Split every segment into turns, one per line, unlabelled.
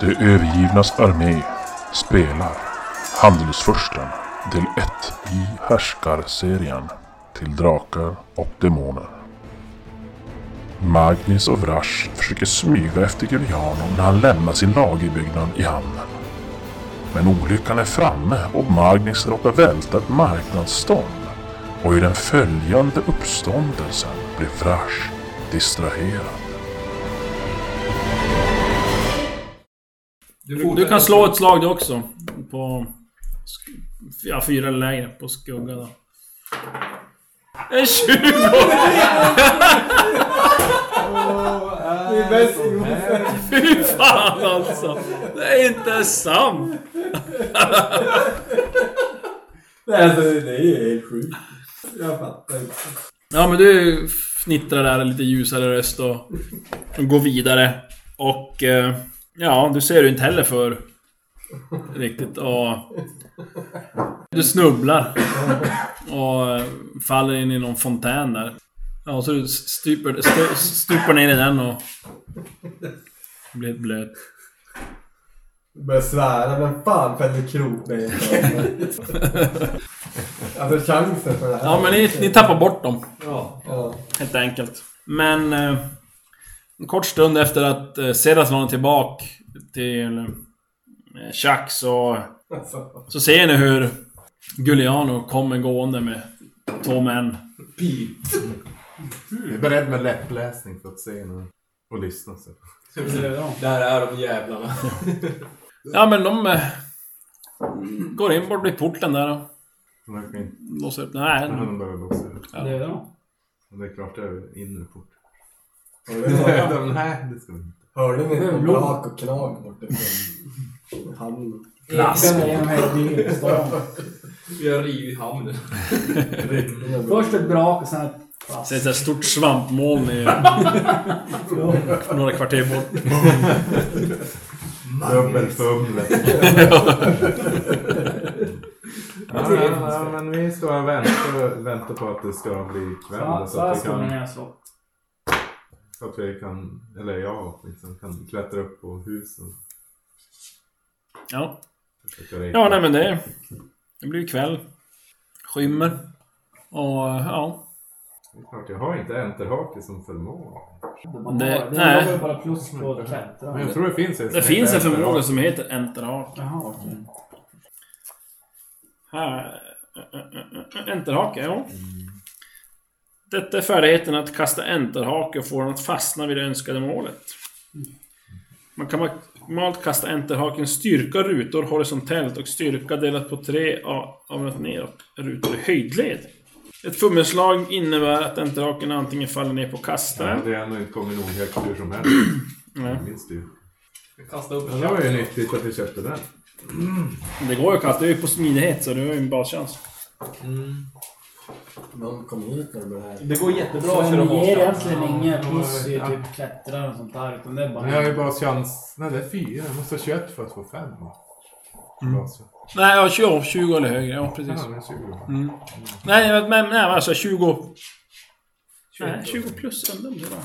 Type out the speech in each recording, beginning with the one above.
De övergivnas armé spelar Handelsfursten del 1 i Härskarserien till Drakar och Demoner. Magnus och Vrash försöker smyga efter Giuliano när han lämnar sin lagerbyggnad i hamnen. Men olyckan är framme och Magnus råkar välta ett marknadsstånd och i den följande uppståndelsen blir Vrash distraherad.
Du kan slå ett slag du också. På... sk- Ja, fyra eller lägre på skugga då. En 20!
Det är bäst Josef.
Fy fan alltså! Det är inte sant!
Nej, Alltså det är ju helt sjukt. Jag fattar inte.
Ja men du fnittrar där lite ljusare röst och går vidare. Och eh, ja, du ser ju inte heller för riktigt och du snubblar och eh, faller in i någon fontän där. Ja, och så du stupar, stu- stupar ner i den och blir blöt.
Jag börjar svära, men fan fäller krokben. Alltså chansen för det här.
Ja men ni, ni tappar bort dem.
Ja.
Helt enkelt. Men eh, en kort stund efter att eh, Sedas lånade tillbaka till eh, Chuck så,
Alltså,
så ser ni hur Giuliano kommer gående med två män.
pip.
Jag är beredd med läppläsning för att se nu. Och lyssna. Så.
Där är de jävlarna.
Ja men de eh, går in bort vid porten där och
De verkar inte...
låser upp. Nej,
Men de behöver låsa upp.
Det är de.
Och Det är klart det är inre port.
Hörde
De- Nej, det ska vi inte.
ni inte brak och knak bortifrån? Han
Plask.
Vi har rivit hamnen.
Först ett brak och sen ett...
ser ett så här stort svampmoln i, några kvarter bort.
Dubbelfumlet. ja, men, ja, men vi ska vänta, vänta på att det ska bli kväll.
Ja,
så,
så här
att vi
ska man
kan,
göra så.
så att vi kan, eller jag liksom, kan klättra upp på husen.
Ja.
försöka rejta.
Ja, nej men det... Det blir ju kväll. Skymmer. Och eh, ja...
Det är klart, jag har inte enterhake som förmåga.
Det-
det
nej.
var ju bara plus på att
Men
klättra.
jag tror det finns en
Det finns en förmåga som heter enterhake.
Jaha,
Mm.
okej.
Här. Enterhake, ja. Detta är färdigheten att kasta enterhake och få den att fastna vid det önskade målet. Man kan maximalt kasta enterhaken styrka rutor horisontellt och styrka delat på tre a- avrätt neråt rutor i höjdled. Ett fummelslag innebär att enterhaken antingen faller ner på kastaren...
Det har nog inte kommit nog högt hur som helst.
Nej.
Minns du?
Kasta upp
Det var ju nyttigt att vi köpte den.
Det går ju att kasta. Det är ju på smidighet så du har ju en baschans.
Någon kom hit när det blev här.
Det går jättebra
Så
att köra
det ger
bort
egentligen inga plus i typ klättra och sånt där utan det är
Men jag har
bara...
ju bara chans... Nej, det är fyra. Jag måste ha 21 för att få fem.
Mm.
Bas.
Nej, ja, 20, 20 eller högre. Ja, precis.
Ja, men 20.
Nej, men, men nej, alltså 20... Nej, 20 plus ändå om det var.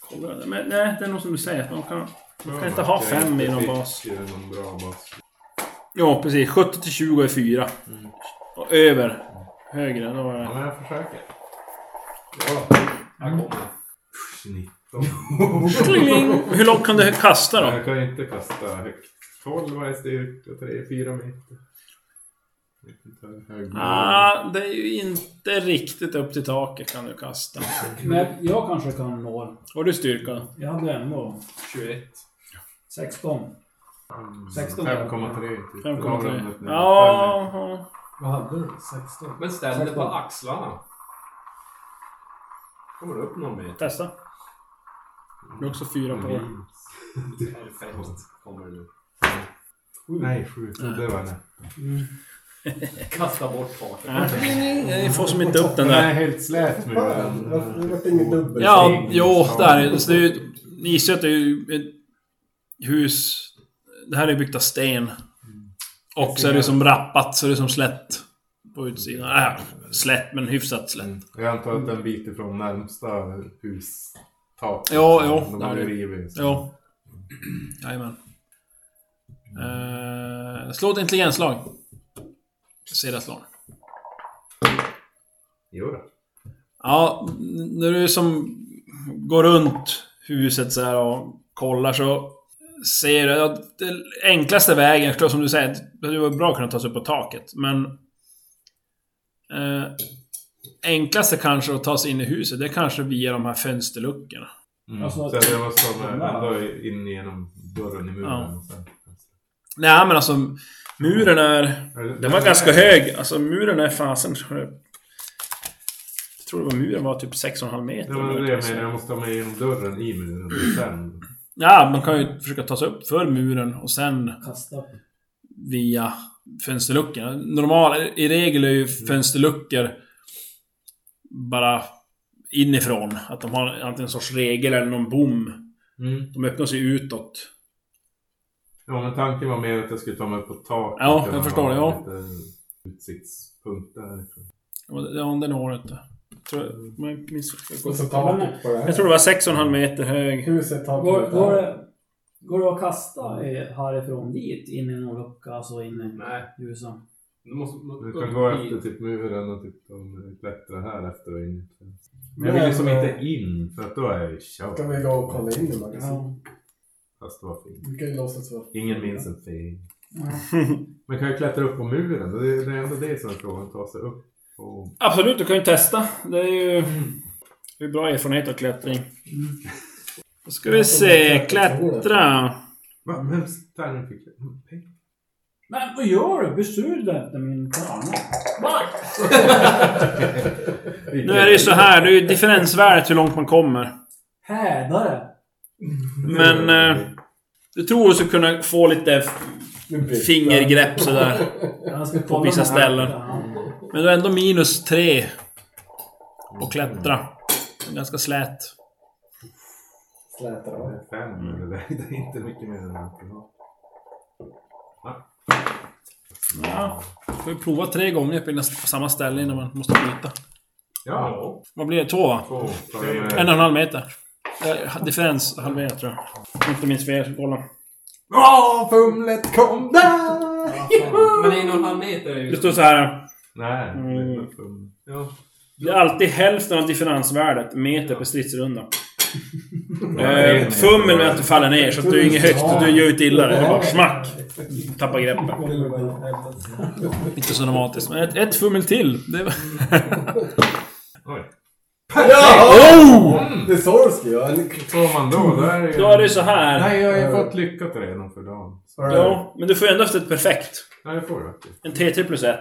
Kolla det. Men nej, det är nog som du säger. att De kan, de kan inte ha
Jag
fem i
inte
någon
fick,
bas.
eh, Någon bra bas.
Ja, precis. 70 till 20 är 4. Och över. Högre, då var
Ja,
det...
men jag försöker.
Här kommer
19.
Kling! Hur långt kan du kasta då?
Jag kan ju inte kasta högt. 12 var jag styrka. 3, 4 meter. Jag vet inte, hög-
Ah, det är ju inte riktigt upp till taket kan du kasta.
Men jag kanske kan nå.
Har du styrka?
Jag hade ändå
21.
16.
Mm.
16
5,3. typ.
5,3?
Avrundat nu.
Ja, ja.
Vad hade du? 16?
Men ställ dig på axlarna. Kommer upp någon meter.
testa. Du har också fyra på.
Perfekt. Kommer du.
Nej, 7. Det var det.
Kasta bort farten.
Nej, får som inte upp den
Den
där.
är helt slät med
Fan,
den.
varför vart det inget dubbel?
Ja, jo, där. Så det är ju, ni gissar ju att det är ju ett hus. Det här är byggt av sten. Och så är det som rappat, så det är som slätt på utsidan. Äh, slätt, men hyfsat slätt.
Jag antar att den biter från närmsta hustak.
Ja, ja,
De
där
har
är
ju
det.
rivit.
Jo. Jajamän. Eh, slå ett intelligenslag. Sera slår.
Jo då.
Ja, n- när du som går runt huset så här och kollar så ser du att det enklaste vägen, förstås, som du säger, det hade varit bra att kunna ta sig upp på taket, men... Eh, enklaste kanske att ta sig in i huset, det är kanske via de här fönsterluckorna.
Mm.
Alltså-
så det var som eh, ändå in genom dörren i muren.
Ja.
Och sen.
Nej, men alltså muren är... Den var ganska hög. Alltså muren är fasen... Jag tror det var muren var typ 6,5 meter.
Det var det jag menade, jag måste ta mig genom dörren i muren och sen.
Ja, man kan ju försöka ta sig upp för muren och sen
Kasta upp.
via fönsterluckorna. Normal, I regel är ju fönsterluckor bara inifrån. Att de har antingen en sorts regel eller någon bom.
Mm.
De öppnar sig utåt.
Ja, men tanken var mer att jag skulle ta mig upp på taket.
Ja, jag
Där man
förstår det,
har
ja.
Lite utsiktspunkt därifrån.
Ja, det- Ja, den har det inte. Tror jag, men jag, minns,
Och så taket på det
jag
här.
tror det var 6,5 meter hög.
Huset taket
Går,
på
går,
det här.
det, går det att kasta eh, härifrån dit, in i någon lucka, alltså in i
Nej,
huset?
du måste...
Du kan gå efter typ muren och typ de klättrar här efter och in. Men
Men,
jag vill liksom
eh,
inte in för att då är jag ju körd.
Ska vi gå och kolla in i magasinet?
Fast det var fint.
Vi kan ju låtsas vara...
Ingen minns en thing. Men kan jag klättra upp på muren? Det är, det är ändå det som är frågan. Ta sig upp och...
Absolut, du kan ju testa. Det är ju det är bra erfarenhet av klättring. Då ska vi se. Klättra.
Va? Vems tärning fick jag? Pengar?
Men vad gör du? Besudla inte min stjärna.
Nu är det ju så här. Det är ju differensvärdet hur långt man kommer.
Hädare!
Men eh, du tror du ska kunna få lite
Nu blir det-
fingergrepp sådär.
Jag ska
På
kolla
vissa
med
ställen.
hädare.
Men du är ändå minus tre på klättra. Ganska slät.
Slätar av.
Fem eller det är inte mycket mer än att ha.
Ja. Får ju prova tre gånger på nästa- på samma ställe innan man måste byta.
Ja.
Vad blir det? Två va?
Två. klarar jag
En
med.
och en halv meter. Eh, Differens halverat tror jag. Om inte minns fel, så kolla.
Åh, fumlet kom där!
Men en och en halv meter är
Det
ju...
står så här.
Nej.
Mm.
det är bara fum.
Ja.
Det är alltid hälften av differensvärdet, meter per stridsrunda.
det är
Eh,
en
fummel
meter.
med att du faller ner, så att du är inget högt. Du gör ut illa dig. Det är bara smack. Tappar greppet.
Det blir bara hämtat.
Inte så dramatiskt, men ett, ett fummel till. Det var...
Oj.
oh!
Det är så du ska göra. En-
Får man då? Då är det ju...
Mm. Då är det så här. Eh.
Nej, jag har ju fått lyckat redan för dagen.
Hör du?
Ja, men du får ju ändå efter ett perfekt.
Nej, det får du faktiskt.
En T3 plus 1.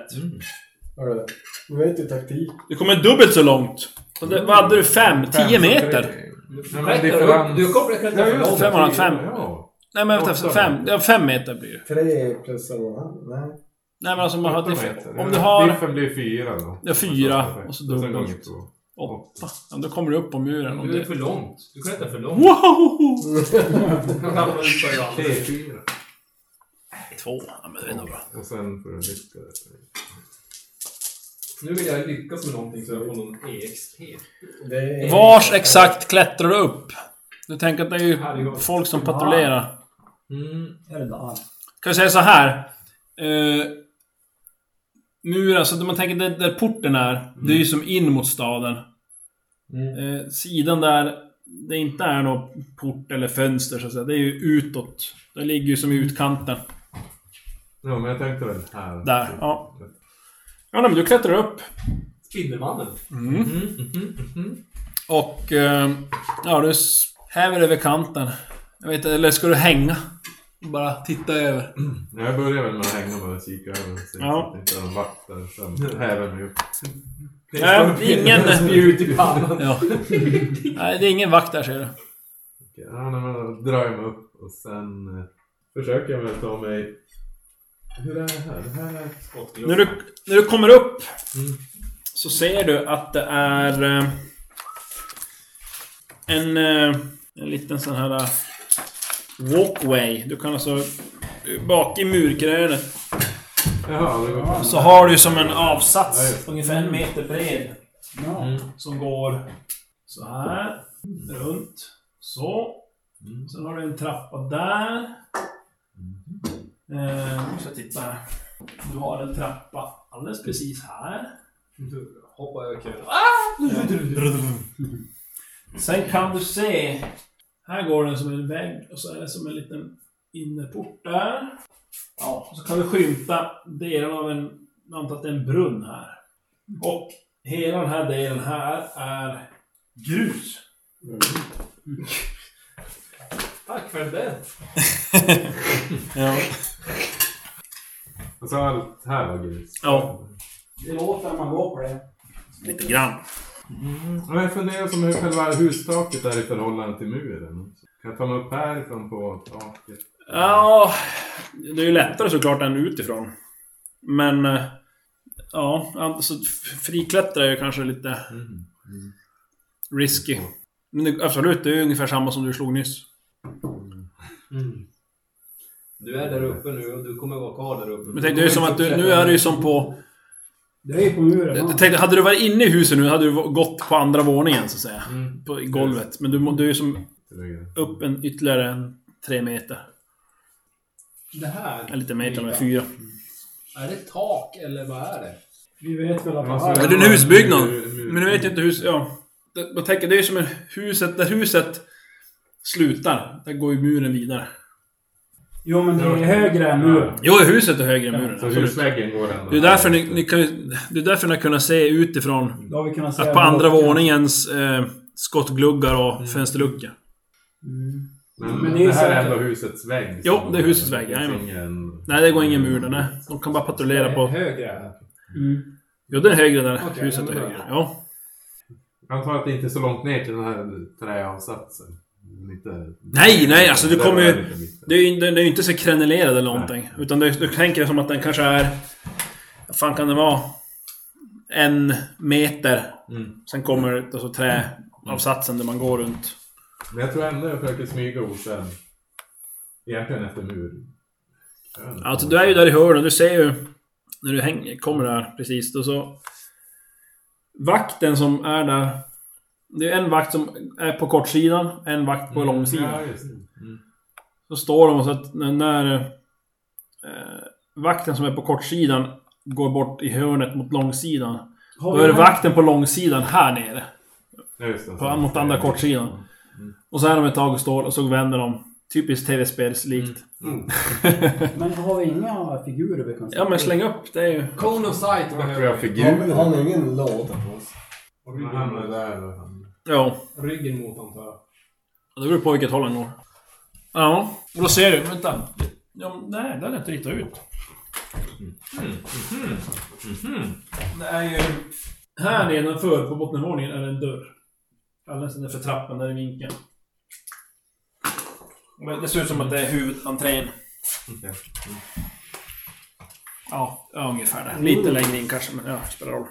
Hör du? Du vet ju taktik.
Du kommer dubbelt så långt. Så det, vad hade du? 5? 10 meter?
Nej, men
Klättra
differens...
upp. Du kommer klättra
Ja,
för
just
långt.
det.
505.
Ja.
Nej men vänta, 5 ja, fem meter blir det.
Tre plus en och en halv. Nej.
Nej men alltså man har...
Åtta
differ-
meter.
Om du har...
Diffen blir fyra då.
Ja, fyra, och så
sen
dubbelt.
gånger två.
Åtta. Ja, då kommer du upp på muren. Om
Du är
du...
för långt. Du klättrar för långt.
Wow!
Du kan ramla ut på det andra.
Tre, fyra.
Två. Ja, men det är nog bra.
Och sen får du lycka.
Nu vill jag lyckas med någonting så jag får någon E EXP.
Det är...
Vars exakt klättrar du upp? Du tänker att det är ju
Herregud.
folk som patrullerar.
Mm.
Är det där?
Kan jag säga så här. Uh, muren, alltså om man tänker där, där porten är. Det är ju som in mot staden. Eh, sidan där det inte är någon port eller fönster så att säga. Det är ju utåt. Det ligger ju som i utkanten.
Ja, men jag tänkte väl här.
Där, ja. Ja, nej, men du klättrar upp.
Spindelmannen.
Och... eh, ja, du s- häver över kanten. Jag vet inte, eller ska du hänga? Bara titta över.
Ja, Jag börjar väl med att hänga med och kika över. Så
Ja.
att det inte är någon vakt där. Sen häver jag mig upp.
Nej, ingen...
Spjut i pannan.
Ja. Nej, det är ingen vakt där ser du.
Ja, nej, men då drar jag mig upp och sen eh, försöker jag väl ta mig... Hur är det här? Det här är...
När du, när du kommer upp så ser du att det är eh, en, eh, en liten sån här eh, walkway. Du kan alltså... Bak i murkrönet
Jaha, det går...
så har du som en avsats
Ja,
ungefär en meter bred
Ja.
som går så här
Mm.
runt. Så. Sen har du en trappa där.
Mm.
Eh, nu ska jag titta här. Du har en trappa alldeles precis här. Ah!
Hoppa över kön.
Sen kan du se... Här går den som en vägg och så är det som en liten innerport där. Ja, och så kan du skymta delen av en... Jag antar att det är en brunn här. Och hela den här delen här är grus.
Tack för det.
Ja.
Alltså allt här var grus.
ja,
Det låter när man går på det.
lite grann.
Men jag funderar som hur själva hustaket är i förhållande till muren. Kan jag ta mig upp härifrån på taket?
Ja, det är ju lättare såklart än utifrån. Men... eh, Ja, alltså friklättra är ju kanske lite
Mm.
risky. Men det, absolut, det är ju ungefär samma som du slog nyss.
Du är där uppe nu och du kommer vara kvar där uppe.
Men
Mm.
tänk, det är ju som att du, nu är det ju som på...
Du är ju på muren. va?
Jag tänkte, hade du varit inne i huset nu hade du gått på andra våningen så att säga. På i golvet. Men du, må- du är ju som upp en ytterligare en tre meter.
Det här,
Eller lite mer till och med, fyra.
är det tak eller vad är det?
Vi vet väl att det
Alltså,
är.
Men det är en husbyggnad. Men du vet ju inte hus... Ja. Det- Man tänker, det är ju som en huset... Där huset slutar, där går ju muren vidare.
Jo, men det är högre än muren.
Jo, huset är högre än muren.
Så
absolut.
husväggen går ändå
Det är därför ni, ni kan ju... Det är därför ni har kunnat se utifrån.
Då har vi kunnat se...
Att på andra våningens eh, skottgluggar och fönsterluckor.
Mm.
Men,
Men det är
det,
ju
här är
säkert-
ändå husets vägg.
Jo,
som-
det är husets vägg,
Det
jajamän.
finns ingen-
Nej, det går ingen mur där. Nej. De kan bara patrullera på...
Högre här.
Mm.
Jo, den är högre där.
Okej,
huset är
ja, men då-
högre. Ja.
Jag antar att det inte är så långt ner till den här träavsatsen. Lite...
Nej, nej, alltså du
Det
kommer
var
ju-
lite mitt.
Det är ju den är ju inte så krenelerad eller någonting. Utan det, du tänker det som att den kanske är... Vad fan kan det vara? En meter.
Mm.
Sen kommer alltså, träavsatsen där man går runt.
Men jag tror ändå jag försöker smyga osen. Egentligen efter mur.
Alltså du är ju där i hörnet. Du ser ju... När du hänger, kommer där precis. Då så... Vakten som är där... Det är en vakt som är på kortsidan, en vakt
Mm.
på långsidan.
Ja, just det. Mm.
Så står de så att när- när eh, vakten som är på kortsidan går bort i hörnet mot långsidan.
Har
Då
vi
är det
den här-
vakten på långsidan här nere.
Ja, just det.
På, mot andra kortsidan.
Mm.
Och så är de ett tag och står och så vänder de. Typiskt
Mm.
tv-spelslikt.
Men har vi inga figurer vi kan se?
Ja men släng upp, det är ju...
Cone of sight
Vart
behöver
vi har
vi.
Ja, men
figurer.
han har ingen låda på oss.
Och
Han
Ryggen,
hamnar
mot-
där och han...
Ja.
ryggen mot antar jag.
Det beror på vilket håll han går. Ja. Och då ser du, vänta. Ja, nej, den är inte riktigt ut. Det är ju... Här nedanför på bottenvåningen är det en dörr. Alldeles nedanför trappan, där i vinkeln. Men det ser ut som att det är huvudentrén.
Okej.
Ja, ja, ungefär där. Lite längre in kanske, men ja, det spelar roll.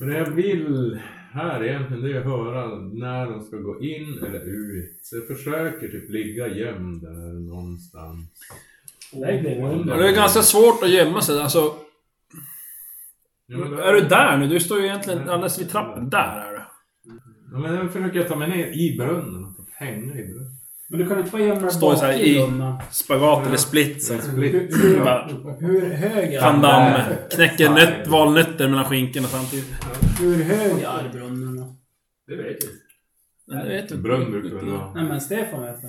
Men det jag vill här egentligen det är att höra när de ska gå in eller ut. Så jag försöker typ ligga gömd där någonstans.
Det blir det.
Ja, det är ganska svårt att gömma sig. Alltså,
Ja, men då-
är du där nu? Du står ju egentligen alldeles vid trappen. Där är du.
Ja, men jag försöker ta mig ner i brunnen. och Typ hänga i brunnen.
Men du kan inte bara gömma dig
Står så här
bak
i-
i rummet.
Spagat eller split. Så.
Split.
Bara
Hur hög är
Van
den?
Damme knäcker nöt, valnötter mellan skinkorna samtidigt.
Hur hög är brunnen? då?
Det vet jag.
Nej, det vet du.
Brunn brukar väl vara...
Nej men Stefan vet det.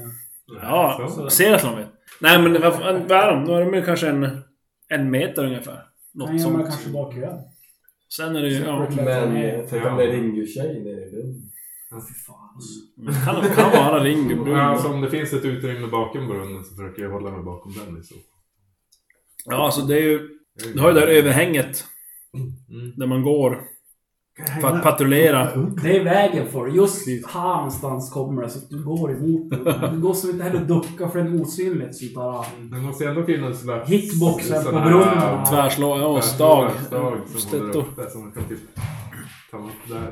Ja, ser att de vet. Nej men vad fan, vad är de? Då är de ju kanske en, en meter ungefär.
Han
Något
gömmer
sånt.
kanske bak i ön.
Sen är det ju... Ja,
Men eh, tänk om det ringer ju tjej nere i rummet.
kan, kan vara ring.
Ja, så om det finns ett utrymme bakom brunnen så försöker jag hålla mig bakom den i så fall.
Ja, alltså det är ju... Du har ju det här överhänget.
Mm.
Där man går. För att patrullera.
Det är vägen för dig. Just här någonstans kommer det så att du går emot det. Det går som inte heller ducka för en osynligt sånt där.
Det måste ju ändå finnas slags...
Hitboxen på
sån här-
brunnen.
Tvärslå... Ja, stag.
Stag som håller
Stöttor.
upp där som man kan typ ta mig upp där.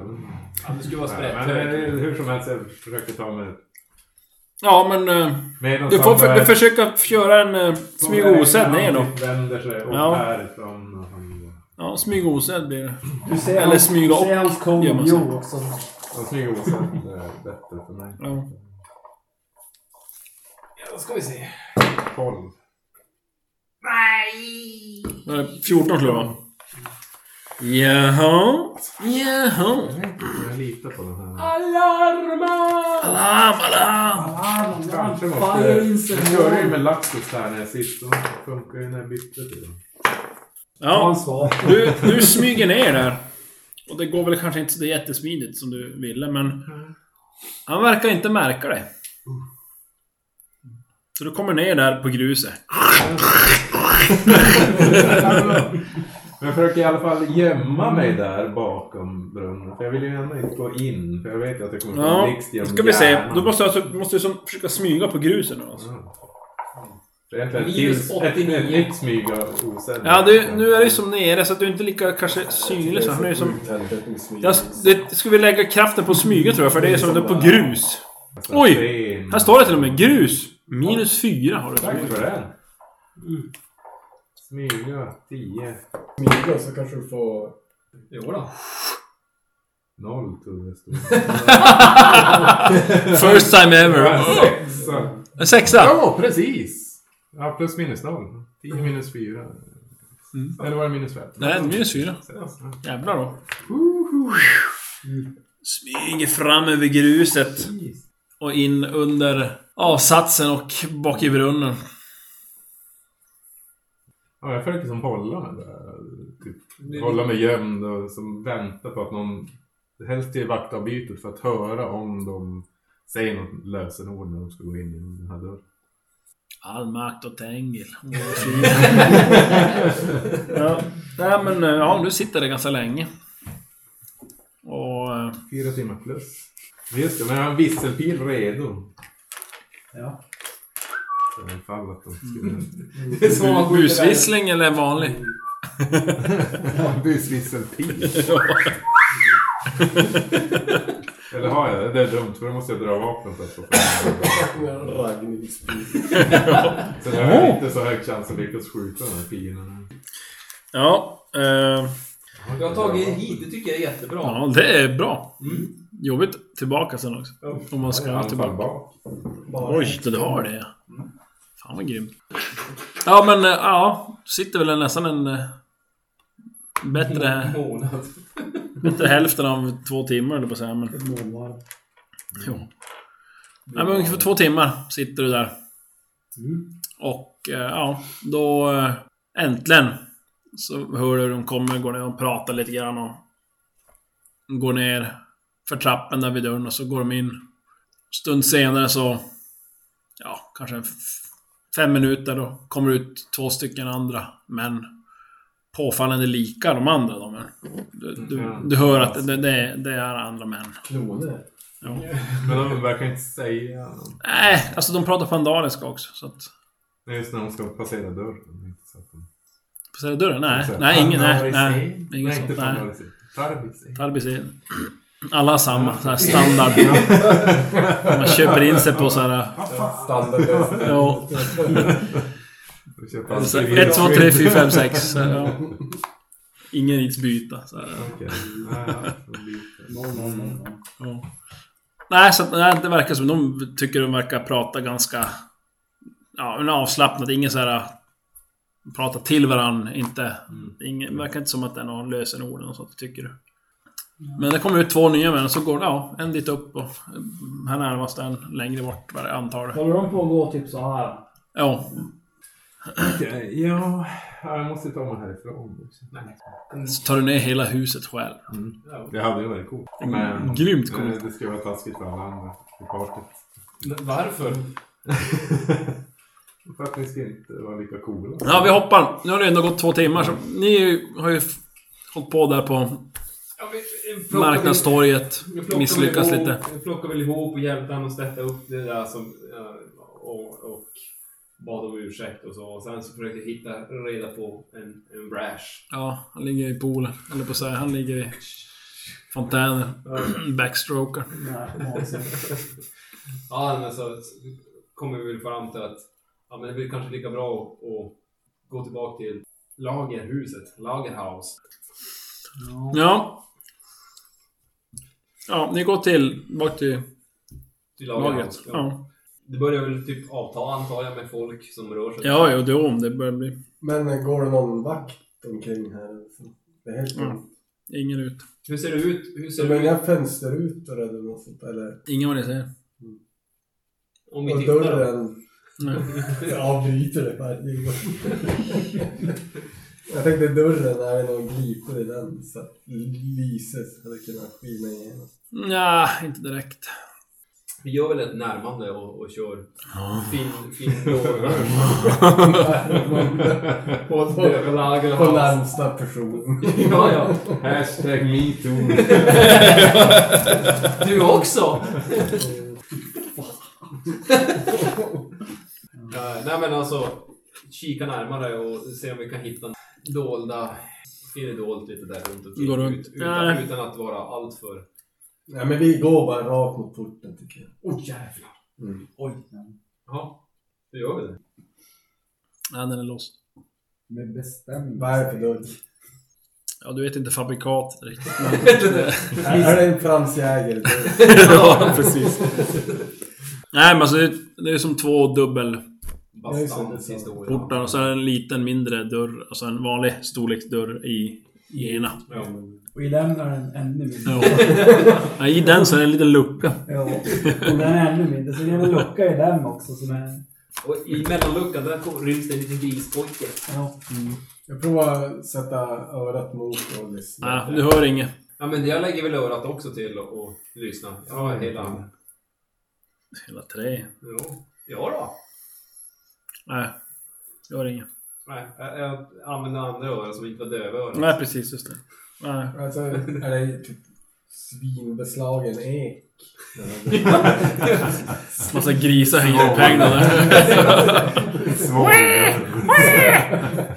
Ja, det skulle vara
Men det
sprätthög.
är hur som helst, jag försöker ta mig...
Ja, men... eh,
Medan
Du får
han
för,
börjar-
du försöka göra en eh, smyg osedd ner då.
Han typ vänder sig upp
Ja.
härifrån och han...
Ja, smyg osedd blir det.
Du ser
Eller
hans-
smyga
Du ser
och
hans komjo
gömma sig.
också.
Han smyger osett eh, bättre för mig.
Ja.
Ja, då ska vi se.
12.
Nej, 14 slår jag. Jaha. Jaha.
Jag litar på den här.
Alarma!
Alarm, alarm!
Alarm!
Kanske
alarm.
måste...
Fire in the
Jag körde ju
hole.
med Laxus där när jag sist. Då funkar ju när jag bytte till dem.
Ta en
Ja,
svar.
du, du smyger ner där. Och det går väl kanske inte så jättesmidigt som du ville, men... Han verkar inte märka det. Så du kommer ner där på gruset.
Men jag försöker i alla fall gömma mig där bakom brunnen. För jag vill ju ändå inte gå in. För jag vet ju att det kommer att
Ja,
bli blixt
nu
genom
ska vi se.
hjärnan.
Då måste jag alltså, måste du som, försöka smyga på gruset nu alltså.
Det är egentligen ett
Minus
till- ett- ett
89.
nytt smyg av osedd.
Ja, du, nu är det ju som nere så att du är inte lika kanske synlig så. Han är ju som... Jag, det ska vi lägga kraften på smyga tror jag, för det är som det är på grus.
Alltså,
Oj! Här står det till och med grus. Minus fyra har du.
Tack för det. Smyga 10.
Smyga så kanske du får...
Jodå.
Noll tog det stod.
First time ever.
Sexa.
En sexa.
Ja, precis! Mm. Ja, plus minus noll. 10 minus 4. Eller var det minus 5?
Nej, minus fyra. Jävlar då. Smyger fram över gruset. Och in under avsatsen och bak i brunnen.
Ja, jag försöker som hålla mig där. Typ, hålla mig gömd och som vänta på att någon... Helst till vaktavbytet för att höra om de säger något lösenord när de ska gå in genom den här dörren.
All makt åt Tengil. ja, nej men eh, ja, du sitter där ganska länge. Och... eh,
Fyra timmar plus. Just det, men jag har en visselpil redo.
Ja.
Så I fall att de skulle...
Det är så man skjuter där.
Busvissling eller vanlig?
Busvisselpil. Eller har jag det? Det är dumt för då måste jag dra vapen för att få fram den.
Ragnarspik.
Så jag har inte så hög chans att lyckas skjuta den här fienden.
Ja, eh,
Jag har tagit hit, det tycker jag är jättebra.
ja, det är bra.
Mm.
Jobbigt tillbaka sen också. Om man ska tillbaka.
bak.
Oj, så du har det.
Mm.
Fan vad grymt. Ja, men eh, ja. Sitter väl nästan en... eh, Bättre,
Månad.
bättre hälften av två timmar eller på så här, men...
Ett målvarv.
Jo. Nej, men ungefär två timmar sitter du där.
Mm.
Och eh, ja, då eh, äntligen så hör du hur de kommer, går ner och pratar lite grann och går ner för trappen där vid dörren och så går de in. Stund senare så, ja, kanske en f- fem minuter då kommer ut två stycken andra män. Påfallande lika de andra de är. Du, du, du hör att det, det, det är andra män.
Kronor.
Ja.
Men de verkar inte säga något.
Nej, alltså de pratar pandaliska också. Så att...
Det är just när de ska passera dörren. Inte så att de-
Passera dörren? Nej,
så här,
nej, ingen, nej,
"Pandarisé."
nej. Inget
Alltså, Nej, inte
sånt, nej.
Pandarisé. Tarbisé.
Tarbisé. Alla har samma, så här standard. Man köper in sig på så här...
Standardlösning.
Ja,
De köper
så
alltid
1, 2,
vitt
3,
skinn.
4, 5, 6. Så här, ja. Ingen rits byta. Så här,
Okej. Ja, ja, så blir det.
Mm.
ja. Nej, så att, nej, det verkar som de tycker de verkar prata ganska... Ja, men avslappnat. Ingen så här... Prata till varann, inte...
Mm.
Ingen, verkar inte som att det är någon lösenord eller något sånt, tycker du. Men det kommer ut två nya män, så går det, ja, en dit upp och... eh, Här närmast en längre bort, vad det antar du.
Håller de på att gå typ så här?
Ja.
Okej, Ja, jag måste ta mig härifrån.
Mm.
Så tar du ner hela huset själv.
Det hade ju varit coolt. Men
Mm. Grymt
men
coolt.
det skulle vara taskigt för alla andra i partiet.
Varför?
För att ni ska inte vara lika coola.
Ja, vi hoppar. Nu har det ändå gått två timmar, så ni är ju- har ju f- hållit på där på
Ja, vi- vi plockar väl-
marknadstorget.
vi plockar väl
Misslyckas
ihop-
lite.
Vi plockar väl ihop och hjälpte honom att städa upp det där som, eh, och, och bad om ursäkt och så. Och sen så försökte jag hitta reda på en, en brash.
Ja, han ligger i poolen. Eller på sig, han ligger i fontänen. Backstroker.
Nej,
Ja, men så kommer vi väl fram till att ja, men det blir kanske lika bra att, att gå tillbaka till lagerhuset, Lagerhaus.
Ja. Ja, ni går till, bak till
Till
lagret.
Lagerhaus.
Ja.
Det börjar väl typ avta antar jag med folk som rör sig.
Ja, jo, det är om det börjar bli.
Men eh, går det någon vakt omkring här? Det är helt
Mm.
tomt.
Ingen ut.
Hur ser det ut? Hur
Så
ser det
Men
ut?
jag fönsterrutor eller något sånt eller?
Ingen vad det säger.
Om vi
Och
tittar då.
dörren
Nej.
avbryter det varje gång. jag tänkte dörren, är det någon glipor i den så att lyset hade kunnat skina igenom.
Nja, inte direkt.
Vi gör väl ett närmande och, och kör
Ja.
fin, fin låga. på
på-
dödlager.
På närmsta person.
Ja, ja.
Hashtag metoo.
Du också! Eh, Nej men alltså, kika närmare och se om vi kan hitta dolda... Är det dolt lite där runt omkring?
Gå runt.
Ut, utan,
Nej.
utan att vara alltför...
Nej men vi går bara rakt mot porten tycker jag.
Oj jävlar.
Mm.
Oj. men
Ja, hur gör vi det?
Nej, den är låst.
Med bestämning.
Vad är det för dörr?
Ja, du vet inte fabrikat riktigt.
Är det en fransjäger?
ja, precis. Nej, men alltså det är, det är som två dubbelportar
Bastantens historia.
och så är det en liten mindre dörr och så en vanlig storleksdörr i, i ena.
Ja.
Och i den är den ännu mindre.
Ja. Ja, I den så är det en liten lucka.
Ja. Och den är ännu mindre. Så det är en lucka i den också som är...
Och i mellanluckan där kom- ryms det en liten grispojke.
Ja.
Jag provar att sätta örat mot och lyssna.
Nej, du hör inget.
Ja men jag lägger väl örat också till och, och lyssnar. Ja, hela...
Hela tre.
Ja, ja då.
Nej, du hör inget.
Nej, jag, jag använder andra örat som inte var dövörat.
Nej, precis. Just det. Nej.
Alltså, är det typ svinbeslagen ek?
Massa grisar hänger upphängda där.
Svår.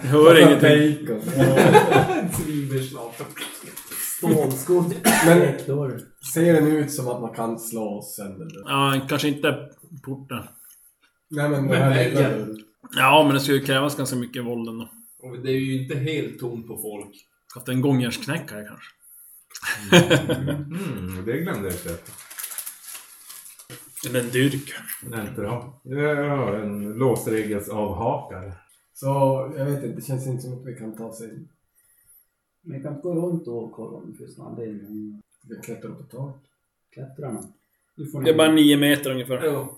Jag hör ingenting.
Bacon.
Svinbeslag.
Stålskodd.
Men
Dörr.
ser den ut som att man kan slå sönder den?
Ja, kanske inte porten.
Nej men det
Men
här är
väggen.
väl-
Ja, men det skulle ju krävas ganska mycket våld ändå.
Och det är ju inte helt tomt på folk.
Haft en gångjärnsknäckare kanske.
Mm, det glömde jag köpa.
Eller en dyrk.
Nej, inte då. Ja, en låsregelsavhakare.
Så jag vet inte, det känns inte som att vi kan ta oss in.
Men jag kan gå runt och kolla om det finns någon anledning.
Vi kan klättra på tak.
Klättra någon. Du får
Det är
ner.
bara nio meter ungefär.
Ja.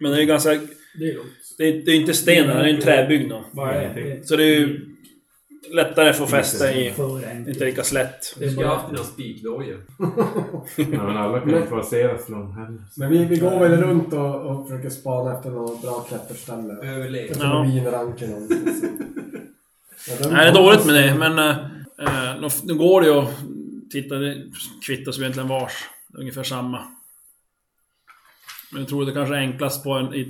Men det är ganska...
Det är lugnt.
Det är, det är inte sten, det är en träbyggnad.
Bara det.
Ingenting.
det. är-
Så det är ju lättare att få fäste i.
För enkelt.
Inte lika slätt.
Det
Du
är
ska ha
bara...
haft dina spikdojor.
Nej, men alla kan ju inte passera från heller.
Men vi, vi går väl runt och, och försöker spana efter något bra klätterställe.
Överlev.
Kanske
Ja.
ja. vinranken eller något sånt. Ja, den-
Nej, det är dåligt med det, men... eh, eh, nu går det ju att titta. Det kvittas ju egentligen vars. Det är ungefär samma. Men jag tror det kanske är enklast på en, i ett,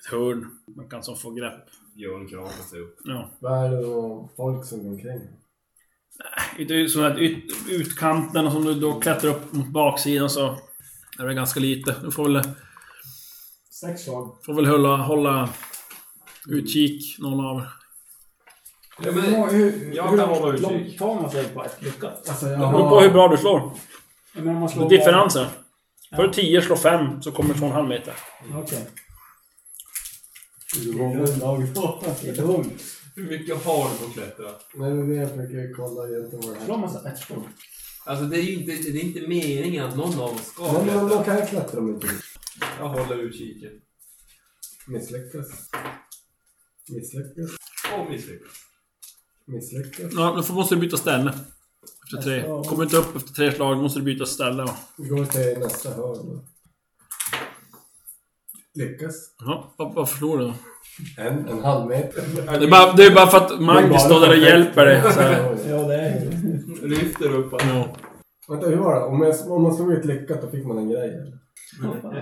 ett hörn. Man kan som få grepp.
Björn kramar sig upp.
Ja.
Vad är det då folk som går omkring?
Ut- ut- Sån här ut, utkanten som du då klättrar upp mot baksidan så... Är det ganska lite. Du får väl...
Sex slag.
Får väl hålla, hålla utkik någon av er.
Ja, men,
hur,
jag
hur
kan hålla
långt
utkik.
tar man sig på ett lyckat?
Alltså jag
Det beror på hur bra du slår.
Jag menar, om man
Det är
slår...
differensen. För 10 slår 5 så kommer du få en halv meter.
Okej. Det
gånger.
är lugnt.
hur mycket har du på att klättra?
Nej, det är det jag försöker kolla egentligen vad det här
Slår man så ettor?
Alltså det är ju inte, det är inte meningen att någon av oss ska
Men, men då
klättra.
kan jag klättra om inte
Jag håller utkiken.
misslyckas. Misslyckas.
Och misslyckas.
Misslyckas.
Ja, då får- måste du byta ställe. Efter tre. Kommer du inte upp efter tre slag måste du byta ställe. va?
Vi går till nästa hörn. då. Lyckas.
Jaha, vad, vad förlorar du då?
En, en halv meter.
Det är bara, det är bara för att Magnus står där och hjälper dig. Så här.
Ja, det är ju
Lyfter upp honom.
Ja.
Vänta, hur var det? Om, jag, om man slog ut lyckat då fick man en grej eller?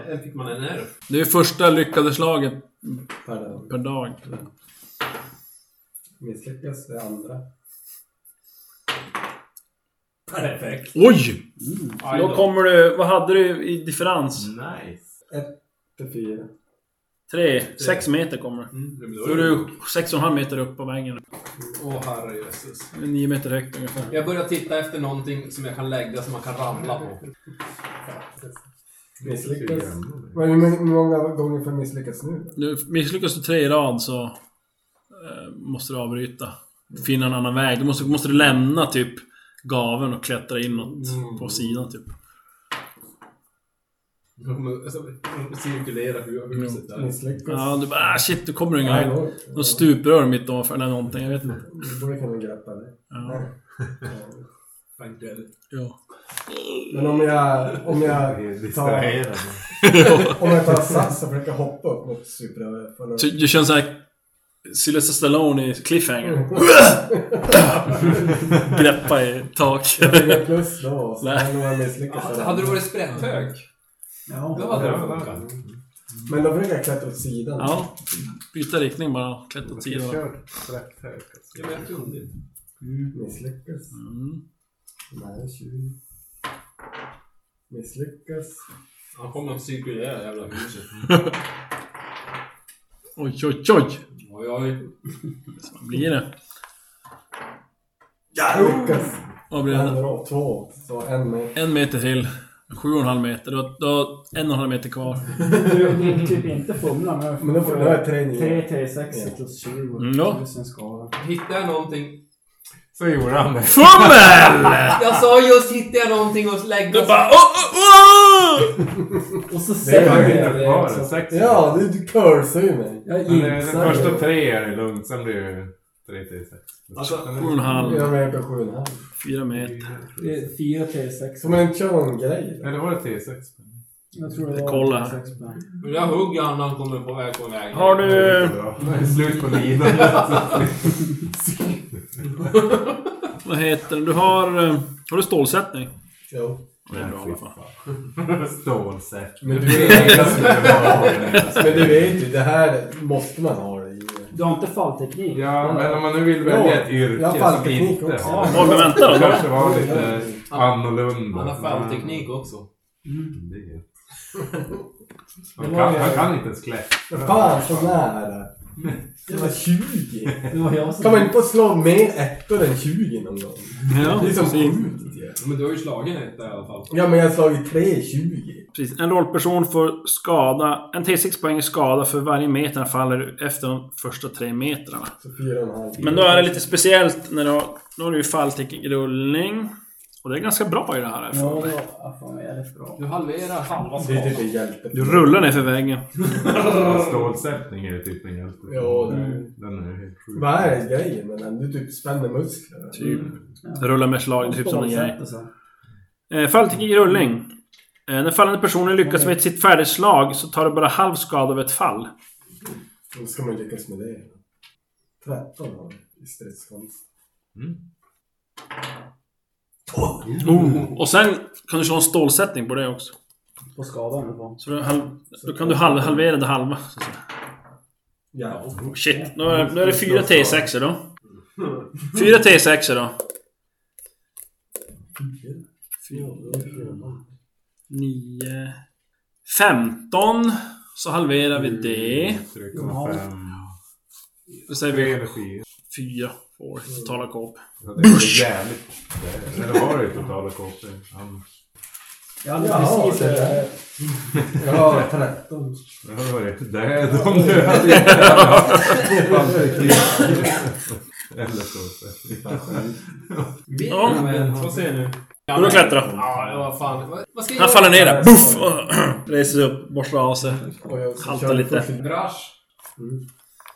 Här fick man en nerv.
Det är första lyckade slaget
per dag.
per dag.
Misslyckas det andra.
Perfekt.
Oj!
Aj
Då kommer du... Vad hade du i differens?
Nice.
Till fyra.
Tre. Sex meter kommer du.
Mm, det
Då är du sex och en halv meter upp på väggen.
Åh herrejösses.
Nio meter högt ungefär.
Jag börjar titta efter någonting som jag kan lägga som man kan ramla på.
Misslyckas. Vad är det med- många gånger för misslyckas nu?
Nu misslyckas du tre i rad så eh, måste du avbryta. Finna en annan väg. Du måste, måste du lämna typ gaven och klättra inåt
Mm.
på sidan typ.
De kommer alltså, cirkulera hu- huset där.
Mm.
Misslyckas?
Ja, du bara ah, shit, du kommer ingen
Nej,
väg.
då-
Något stuprör mitt ovanför eller någonting, jag vet inte.
då borde kunna greppa det.
Ja,
Frank Dell.
ja.
Men om jag, om jag tar,
Distraherad.
om jag tar sats och försöker hoppa upp mot superöver. för
Så
någon-
Du känner såhär Sylvester Stallone i Cliffhanger. Greppa i tak.
Jag fick ett plus då, så
Nej.
hade jag misslyckats.
Alltså, hade du varit sprätthög, då
Ja.
hade det funkat.
Men då brukar jag klättra åt sidan.
Ja, byta riktning bara. Klättra åt sidan.
Kört rätt högt. alltså.
Ja, men jag kunde inte.
Misslyckas.
Mm.
Nej, 20. Misslyckas.
Han kommer att cirkulera det jävla huset.
Oj, oj, oj!
Oj, oj.
Vad blir det?
Lyckas.
Vad blir det?
En rad, två, så en med.
En meter till. Sju och en halv meter. Du har, du har en och en halv meter kvar.
Du du typ inte fumla men...
Men då får jag tre nya.
3 t 6
Ja.
plus 20.
Mm, ja.
Tusen skada.
Hittade jag någonting?
Så gjorde han det.
Fummel!
Jag sa just hittade jag någonting och lägga
Du bara... Oh, oh, oh!
Och så
Det är
Jag
ju-
säger
inte
jag...
det är
kvar
också-
sex.
Ja, du, du cursar ju mig.
Jag
Men,
Mm,
eh,
jinxar
Den första
det.
tre är det lugnt, sen blir det tre till sex.
Alltså,
Sju och en halv.
Jag är på sju och en halv.
Fyra meter.
Det är 4 t 6
Som en John-grej.
Eller var det T6?
Jag tror det
Jag
var
kollar.
sex spänn.
men jag hugger han när han kommer på väg på vägen.
Har du...
Slut på lidandet.
Vad heter det? Du har... eh, Har du stålsättning?
Jo.
Det är bra i alla fall.
Stålsätt.
Men du vet, men du vet ju, det här måste man ha det i.
Du har inte fallteknik?
Ja, men om man nu vill välja ett yrke
Ja,
som
fallteknik
inte
också.
har
Oj, men vänta
det
då.
kanske var lite annorlunda. Mm,
Han har fallteknik också.
Det är- Han kan, han kan inte ens klättra.
Fan, så nära. Det var 20.
Det var jag
Kan
som...
man inte få slå mer ettor än 20 någon gång?
Ja,
Det är som
precis.
sjukt ju.
Men du har ju slagit ett där i alla fall.
Ja, men jag har slagit 3 20.
precis. En rollperson får skada... En T6 poäng i skada för varje meter han faller efter de första tre metrarna.
Så 4,5.
Men då är det lite speciellt när du har... Nu har du ju fallteknikrullning. Och det är ganska bra i det här.
Ja, det var... Ja, fan, jag är rätt bra.
Du halverar halva
Det är
skadan.
typ en hjälte.
Du rullar ner för väggen.
Stålsättning är ju typ en hjälte.
Ja, det är-
Den är helt sjuk.
Vad är grejen med den? Du typ spänner musklerna.
Typ. Rullar med slag, det är typ som en grej.
Stålsätter sig.
Eh, Fallteknik i rullning. Eh, När fallande personen lyckas med sitt färdigslag så tar du bara halv skada av ett fall.
Då ska man lyckas med det. 13 har jag i stridskonst.
Mm. Och sen kan du slå en stålsättning på det också.
På skadan eller vad?
Så du halv, då kan du halv, halvera det halva. så att säga.
Ja.
Oh, Shit, nu är, nu är det fyra T6 då. Fyra T6 då. Nio... Femton. Så halverar vi det.
3,5.
Då säger
Tre
vi
energi.
fyra. Får totala kåp.
Ja, Det är jävligt. Eh, Eller var det ju totala KP? Han-
Jag hade
Ja,
precis
det
det.
där. Ja, 13.
Jag hade varit död om du hade gjort Eller så.
Ja.
Vad säger du?
Går du och klättra?
Ja, det var fan. Vad- Vad ska jag
Han faller ner där. Buff! Och Reser sig upp, borstar av sig.
Och jag ska
Halta
köra
lite.
först.
Brash.
Mm.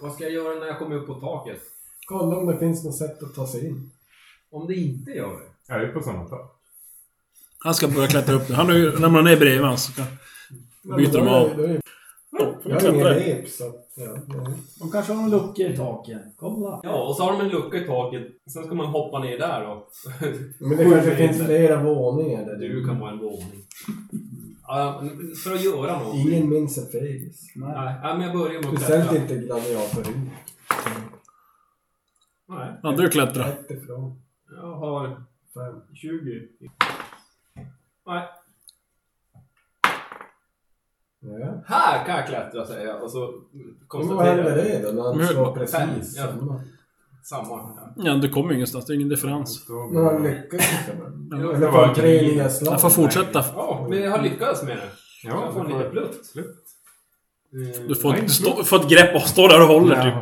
Vad ska jag göra när jag kommer upp på taket?
Kolla om det finns något sätt att ta sig in.
Om det inte gör det?
Jag är ju på samma tak.
Han ska börja klättra upp nu. Han har ju ramlat ner bredvid alltså. honom. så kan- Byter
Ja, men
de
då
av.
är- då är- Jag har ingen
Klättra.
rep så att... Ja, ja.
De kanske har en lucka i taket. Kolla!
Ja, och så har de en lucka i taket. Sen ska man hoppa ner där då.
Men det
Sju
kanske finns
meter.
flera våningar där
Du kan vara en våning. Ja, men för att göra något.
Ingen minns en fegis.
Nej.
Nej, ja, men jag börjar med att
Speciellt
klättra.
inte gladiatorn.
Nej,
Han du klättra.
Rätt ifrån.
jag har
Fem.
20. Nej,
Ja.
här kan jag klättra säger jag. Och så
Men vad händer
konstaterar jag.
det då när han
Men hur-
slår precis
Fem, ja.
samma?
Samma. Ja.
Ja, du kommer ju ingenstans. Det är ingen differens.
Men han lyckas inte med det.
Ja,
Eller
det var
får tre
en-
nya slag.
Alltså-
Han får fortsätta.
Ja, men jag har lyckats med det. Ja, jag får
du
en lite blött.
Du får, ett, stå, får ett grepp och står där och håller typ.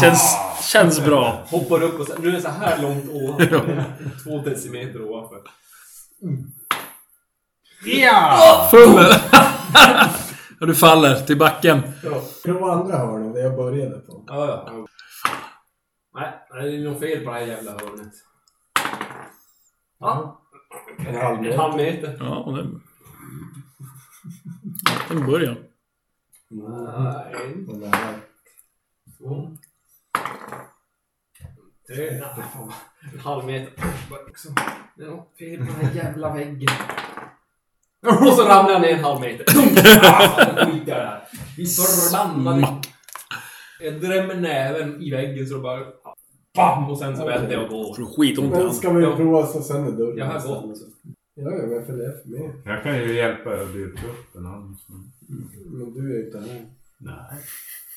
Känns, känns bra.
Hoppar upp och så, nu är det så här långt ovanför. Två decimeter ovanför.
Och du faller till backen.
Prova andra hörnet, det jag började på.
Ja, ja. Nej, nej, det är nog fel på det här jävla hörnet. Ja. En halv meter.
Ja, och den... Den börjar.
Nej.
Den där.
Två. Tre. Nej, fan. En halv meter. Liksom, Det är något fel på den här jävla väggen. Och så ramlar jag ner en halv meter. Ah, skit jag det här. Vi förlannade. Jag drämmer näven i väggen så det bara... Bam! Och sen så vänder jag och går.
Får du skitont i
Men
handen.
ska vi prova så sen är dörren.
Jag har gått.
Ja, ja, men för det är för mig.
Jag kan ju hjälpa er att dyka upp en annan.
Men du är ju inte här.
Nej.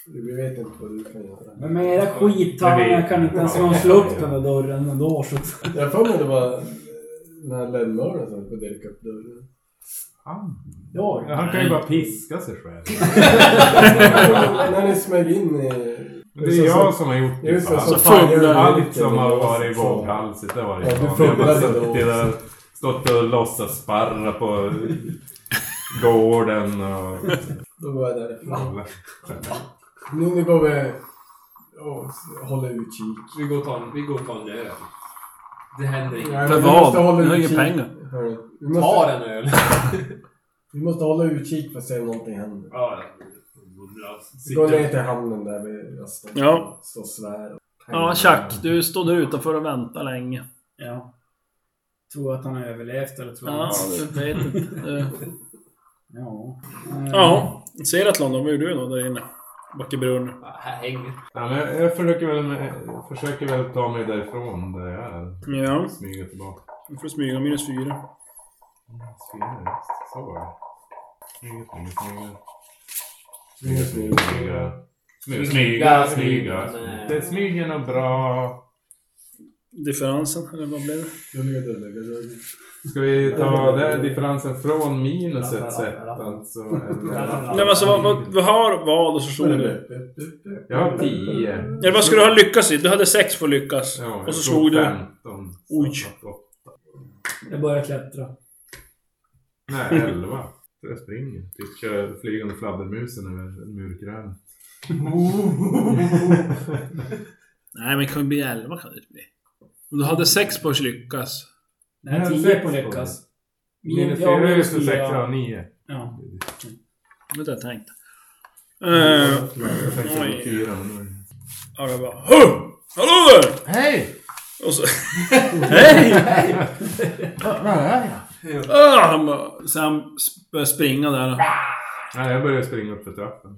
Vi vet inte vad du kan göra.
Men med era skittangar kan inte ens någon slå upp den där dörren ändå. Så att...
Jag har för mig det var eh, den här lönnmördaren som kunde dirka upp dörren.
Han,
Ja,
han kan ju bara piska sig själv.
När ni smög in i...
Men det är jag som har gjort det.
Just det,
fan.
så
fumlar
Allt som har varit våghalsigt har varit
Ja, du
jag. Jag har bara
fumlade då.
suttit där, stått och låtsas sparra på gården och...
Då var jag därifrån.
Alla.
Nu, nu går vi och s- håller utkik.
Vi går och tar en, vi går och tar en öl. Det händer inget.
Nej,
För
men vi
vad?
måste hålla
Ni har ju
utkik.
pengar.
Hörru, Vi
Ta
måste,
den öl.
vi måste hålla utkik för att se om någonting händer.
Ja, ja.
Vi går ner
Sitter.
till hamnen där vi röstar.
Ja.
Står svär. och
Ja, Chuck. Du står där utanför och väntar länge.
Ja. Tror att han har överlevt eller tror
Ja,
han...
du vet inte. Eh,
Ja. Eh,
Ja, Seratlon då? Vad gjorde du då där inne? Backebrunn.
Ja, Här hänger.
Ja, men jag, jag försöker, väl, jag försöker väl ta mig därifrån där jag är.
Ja,
Smyga tillbaka.
nu får du smyga minus fyra.
Smyga, Så var det. Smyga,
Smyga,
smyga, smyga. Smyga, smyga. Smyga, smyga,
Smyga,
smyga.
smyga.
Det smyger nog bra.
Differensen, eller vad blev det?
Gulliga dulliga dulliga.
Ska vi ta den differensen från minuset sett alltså? eller?
Nej men alltså vad, vad, vad har vad och så slog du?
Jag har 10.
Eller vad skulle du ha lyckats i? Du hade sex för att lyckas.
Ja, jag
och så slog du...
15.
Oj.
Jag börjar klättra.
Nej, 11. Så jag springer. Typ kör flygande fladdermusen över murkrönet.
Nej men det kan ju bli elva kan det inte bli. Om du hade sex på att lyckas.
Nej,
Nej,
tio
sex
på
på det.
lyckas.
Minus
ja,
4 är ju
minus
6,
fyra.
ja 9.
Ja.
Det hade jag tänkt.
Mm.
Eh,
Jag tänkte på
Oj.
4. men nu-
ja, det bara... Huh! Hallå där!
Hej!
Och så... Hej!
Vad är jag?
Ah, han bara... Så han sp- började springa där.
Nej, jag börjar springa upp för trappen.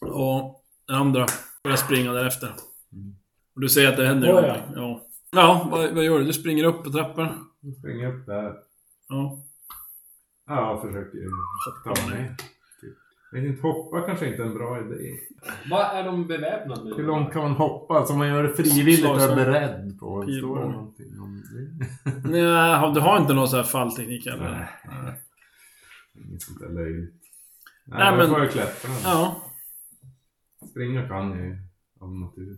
Och den andra började springa därefter. Och du ser att det händer
Oj, ja.
någonting. Ja. Ja, vad, vad gör du? Du springer upp på trappan.
Jag springer upp där.
Ja.
Ja, jag försöker ju ta mig. Typ. Jag vet inte, hoppa kanske inte är en bra idé.
Vad är de beväpnade med?
Hur långt kan man hoppa? Alltså om man gör det frivilligt och är
Slagslag.
beredd på.
Pilbåge.
Står det någonting om det?
Nej, har- du har inte någon sån här fallteknik eller?
Nej. Inget sånt där löjligt.
Nej,
Nej, Nej
men-
men... får jag klättra.
Ja.
Springa kan jag ju av natur.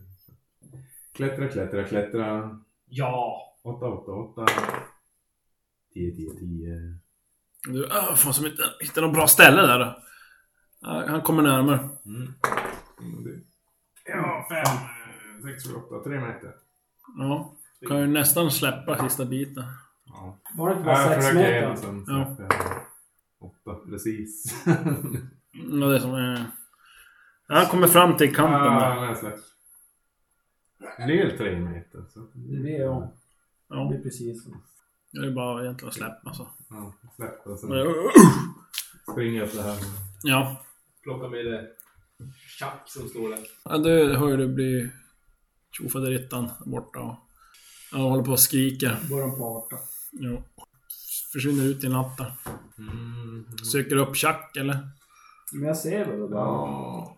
Klättra, klättra, klättra.
Ja!
8, 8, 8. 10, 10, 10.
Du, ah, fan som inte hittar något bra ställe där. då. Ah, Han kommer närmare.
Mm. Och det- Ja, 5, 6, 7, 8, 3 meter.
Ja. Kan ju nästan släppa sista biten.
Ja.
Var det inte bara
Jag
sex
försöker
meter?
en sen.
Ja.
Ja. Åtta, precis.
Ja, det är som... Eh... Han kommer fram till kanten där.
ah, nej, slags. Det är alltså. ju tre meter. Så.
Det blir ja. Det
Ja.
blir precis så.
Det är bara egentligen att släppa alltså. så.
Ja, släpp och
Men,
sen
eh,
springer jag så här.
Ja.
Plocka med det tjack som står där.
ja du hör ju det blir tjofaderittan där borta och... Han håller på och skriker.
Går de på 18.
Jo. Försvinner ut i natten.
Mm.
Söker upp Chuck eller?
Men jag ser väl det där.
Ja.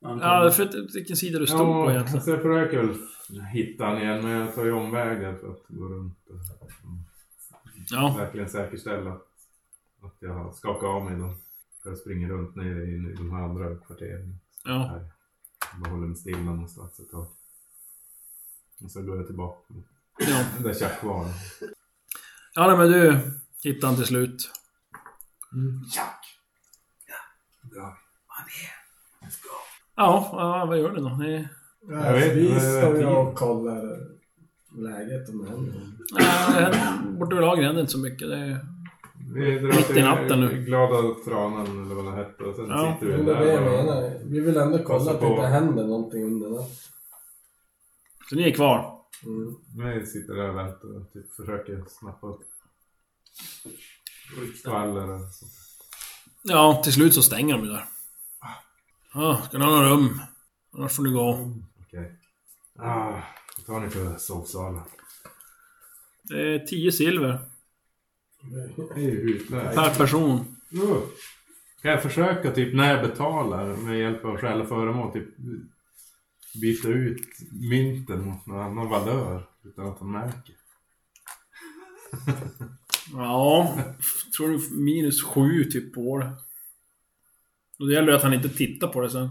Ja, för att- vilken sida du stod på
Ja,
egentligen.
så jag försöker väl hitta han igen, men jag tar ju omvägar för att gå runt och
Ja.
verkligen säkerställa att jag har skakat av mig dem. För jag springer runt nere i de här andra kvarteren.
Ja.
Här. Jag bara håller mig stilla någonstans ett tag. Och så går jag tillbaka mot
Ja,
den där tjackvaran.
ja nej, men du hittar han till slut.
Ja.
Ja, ja, vad gör ni då? Ni...
Jag vet,
vi
men-
står ju och kollar läget om det händer något.
Ja, borta vid lagret händer inte så mycket. Det är...
Vi drar
Mitt i natten nu.
Glada tranan eller vad den hette och sen
Ja.
sitter vi
Men det är det jag
där. bara-
menar. Vi vill ändå kolla
Passa
att det inte
på.
händer någonting under natten.
Så ni är kvar?
Mm.
Vi sitter där och väntar och typ försöker snappa upp skvaller och sånt.
Ja, till slut så stänger de ju där. Ja, ska ni ha några rum? Annars får ni gå.
Okej. Ah, vad tar ni för sovsalen?
Det är 10 silver
Det är ju utmärkt.
per person.
Uh. Kan jag försöka typ när jag betalar med hjälp av skäl och föremål typ byta ut mynten mot någon annan valör utan att de märker?
Ja, tror du minus 7 typ på det. Och det gäller ju att han inte tittar på det sen.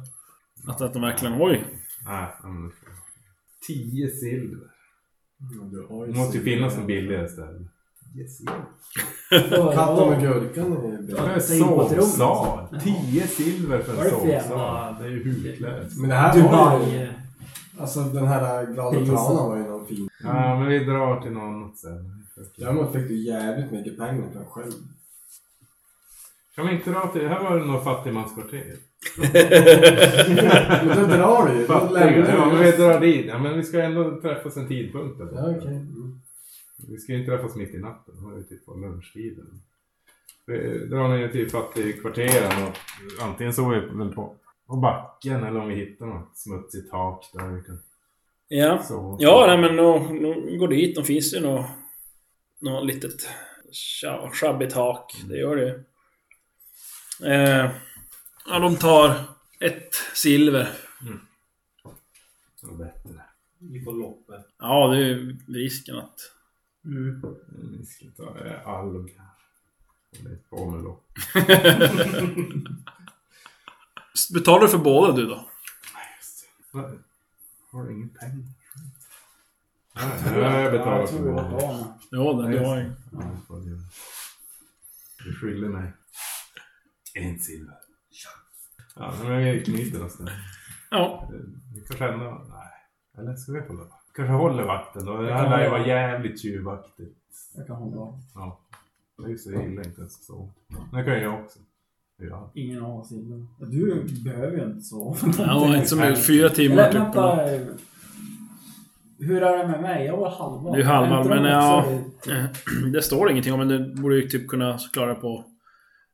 Att, att de verkligen, oj.
Nej, men... Tio silver.
Du har
Det måste ju finnas en billigare ställe. Yes,
Katten med gurkan är ju bra.
En
Det är ju på tron.
sovsal! Tio silver för
Vad
en
är det för jävla-
sovsal. Det är ju hutlöst.
Men det här var ju...
Dubai.
Alltså den här glada
Prinsessan.
tranan var ju någon fin.
Ja, men vi drar till någon sen.
Däremot fick du jävligt mycket pengar för dig själv.
Kan vi inte dra till... Här var det något fattigmanskvarter.
Men då drar du ju. Då
Fattiga? Ja,
lämnar
men
du
vi
ju.
drar dit. Ja, men vi ska ändå träffas en tidpunkt. där.
Ja, okej. Mm.
Vi ska ju inte träffas mitt i natten. Det var ju typ på lunchtiden. Vi drar ner till fattigkvarteren och antingen sover vi väl på, på backen eller om vi hittar något smutsigt tak där vi kan
Ja.
sova.
Ja, nej, men då, då går dit. De finns ju något, något litet tja- sjabbigt hak. Det gör det ju. eh, Ja, de tar ett silver.
Det var bättre.
Vi får loppet.
Ja, det är ju risken att...
Vi ska ta eh, alg. Och lite pomelo.
Betalar du för båda du då?
Vad? Har du inget pengar? Nej, jag betalar för det.
Ja, det
Ja, just
du har
det.
ju.
Ja, det får du göra. Du skyller mig. En silver. Ja, men vi knyter oss där.
Ja.
Vi kanske ändå... Nej. Eller ska vi hålla vakt? Kanske håller vakten då. Det här lär ju vara jävligt tjuvaktigt.
Jag kan hålla av.
Ja. Det är ju så illa inte ens så. Det kan jag också. Ja.
Ingen av oss inne. Du behöver ju inte sova.
Ja, inte så mycket. Fyra timmar
Eller
typ.
vänta. Hur är det med mig? Jag var halva.
Du är halva,
Väntar de
men
också
Eh, Det står ingenting om, men det borde ju typ kunna klara på...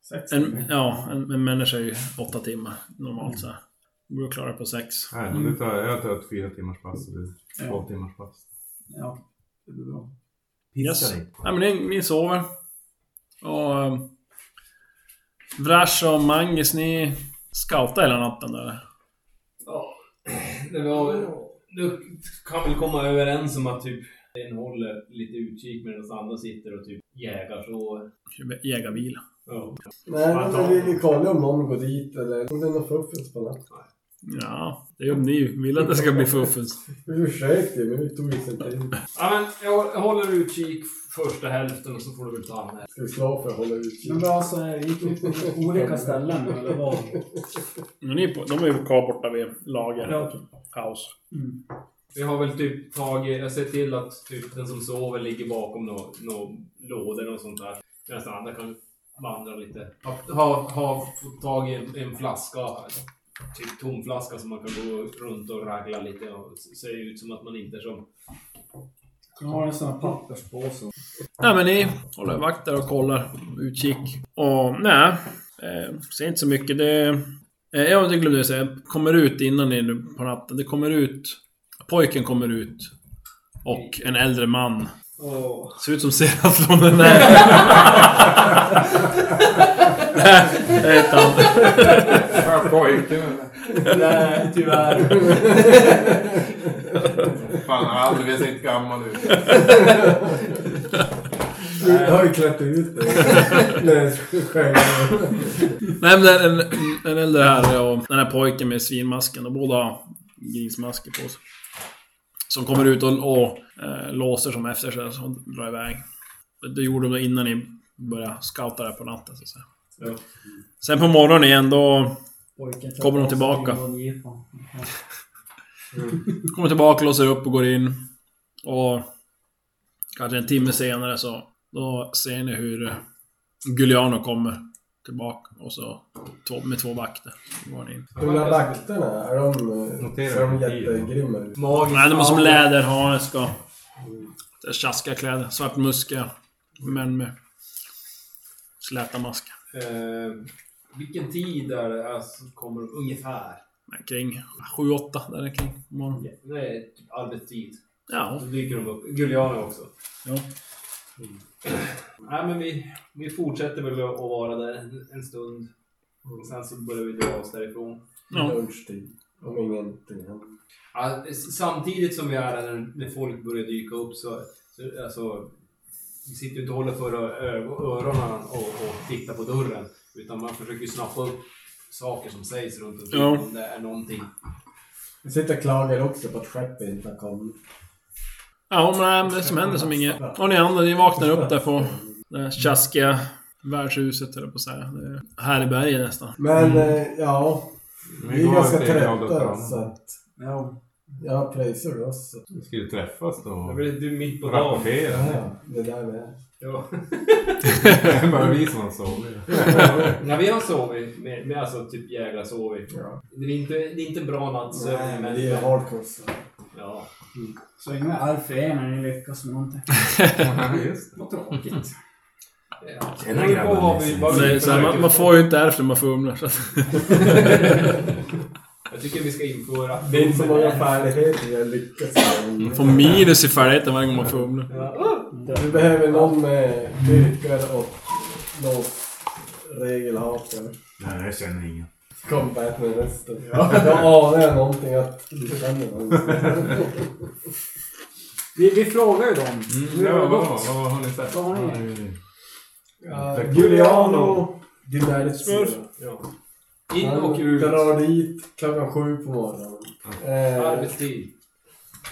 sex
En,
timmar?
ja, en, en människa är ju åtta timmar normalt så här. Borde klara på sex.
Nej, men det tar, jag tar ett fyra timmars pass och du två timmars pass.
Ja, det blir bra.
Yes.
dig.
Nej, men ni, ni sover. Och... Um, Vrash och Mangis, ni scoutar hela natten där.
Ja. Det var, du kan väl komma överens om att typ en håller lite utkik medan oss andra sitter och typ jägar så.
Jägarbil.
Ja.
Nej, men vi, vi kollar ju om någon går dit eller om det är någon fuffens på natten.
Ja, det är om ni vill att det ska bli fuffens.
Vi försökte ju, men vi tog inte tid.
ja men jag jag håller utkik första hälften och så får du väl ta med.
Ska vi slå för att hålla utkik?
Men bra så är det. alltså, Gick vi på olika ställen nu, eller vad?
Men ni är på, de är ju kvar borta vid lager.
Ja, okej.
Paus.
Mm.
Vi har väl typ tagit, jag ser till att typ den som sover ligger bakom några nå lådor och sånt där. Medan den andra kan vandra lite. Har ha, ha fått tag i en, en flaska, typ tom flaska som man kan gå runt och ragla lite och se- ser ut som att man inte är som...
Jag har en sån här papperspåse.
Nej men ni håller vakt där och kollar. Utkik. Och nej. Eh, ser inte så mycket. Det... Eh, ja, det glömde jag säga. Kommer ut innan ni nu på natten. Det kommer ut... Pojken kommer ut. Och en äldre man.
Åh.
Ser ut som Seraflon den där. Nej, det är inte han.
Ja, pojken.
Nej, tyvärr.
Fan, han har aldrig sett gammal ut.
Du har ju klätt ut dig. Nej, själv.
Nej men det är en, en äldre herre och den här pojken med svinmasken. Och båda har grismasker på sig. Som kommer ut och, och eh, låser som efter sig och drar iväg. Det gjorde de innan ni började scouta där på natten så att säga.
Ja.
Sen på morgonen igen då
Pojken
Kommer de tillbaka? kommer tillbaka, låser upp och går in. Och kanske en timme senare så då ser ni hur Giuliano kommer tillbaka och så två, med två vakter. Då Går ni in.
De där vakterna, är de,
Notera
ser de
motiven.
jättegrymma ut?
Magiskt.
Nej, de har som läderhandskar. Det är Tjaskiga kläder. Svart muska. Män med släta maskar.
Eh, vilken tid är det alltså, kommer de ungefär?
Men Kring 7-8 där kring på morgonen.
Det är typ arbetstid.
Ja.
Då dyker de upp. Giuliano också.
ja.
Nej, men vi, vi fortsätter väl att vara där en, en stund. Och sen så börjar vi dra oss därifrån.
Ja.
Lunchtid. Om ingenting händer.
Ja, s- samtidigt som vi är där när- när folk börjar dyka upp så, så alltså, vi sitter ju inte och håller för ö- öronen och, och tittar på dörren. Utan man försöker ju snappa upp saker som sägs runt omkring.
Ja.
Om det är någonting.
Jag sitter och klagar också på att skeppet inte har kommit.
Ja, men det är det som händer som inget. Och ni andra, ni vaknar upp där på det här tjaskiga värdshuset, höll jag på att säga. Det är Härberge nästan.
Men eh, ja, vi är
går
ganska
till Adolf
trötta alltså.
Alm.
så att
Ja.
jag pröjsar oss.
Vi ska ju träffas då.
Ja, men Det är mitt på
och
dagen.
Rapportera.
Ja, ja, det där med.
Ja.
Det är bara vi som har sovit.
När vi har sovit, med, med alltså typ jävla sovit.
Ja.
Det är inte, det är inte en bra nattsömn.
Nej, men
men-
det är hardcore. så.
Ja.
Så inga arv för er när ni lyckas med någonting.
Just
Vad tråkigt.
Ja.
Tjena,
Det beror på vad vi- vad vi
Det är så här, man,
försöker
man får ju inte ärftligt, man fumlar. Så att,
Jag tycker vi ska införa...
Det är inte så många färdigheter jag lyckas
man
med.
får minus i färdigheten varje gång man fumlar.
Ja.
Vi behöver någon med dykar och lås regelhakar.
Nej, jag känner ingen.
Combat med resten. Då anar jag någonting att du känner någonting.
Vi, vi frågar ju dem. Hur
Ja,
har det
Mm.
vad, vad,
gått?
vad har ni sett?
Vad har ni?
Ja, Giuliano Gilbertsson.
Ja. In och
Han
ut.
drar dit klockan sju på morgonen. Eh,
Arbetstid.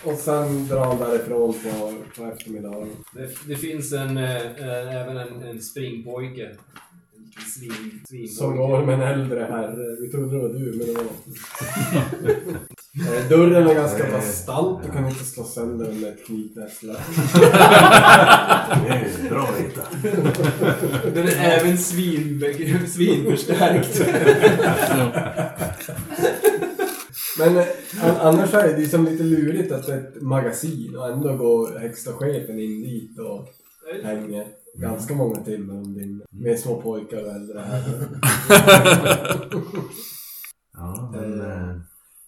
och sen drar han därifrån på, på eftermiddagen.
Det, det finns en, eh, eh, även en, en springpojke. En Svin, svinpojke.
Som går med en äldre herre. Vi trodde det var du, men det var Eh, Dörren är ganska bastant. Du kan inte slå sönder den med ett knytnävsslag.
Det är bra Rita.
Den är även svin, svinförstärkt.
Men eh, an- annars är det ju som lite lurigt att det är ett magasin och ändå går högsta chefen in dit och hänger ganska många timmar om dygnet. Med små pojkar och äldre herrar.
Ja, men...
Eh.
eh,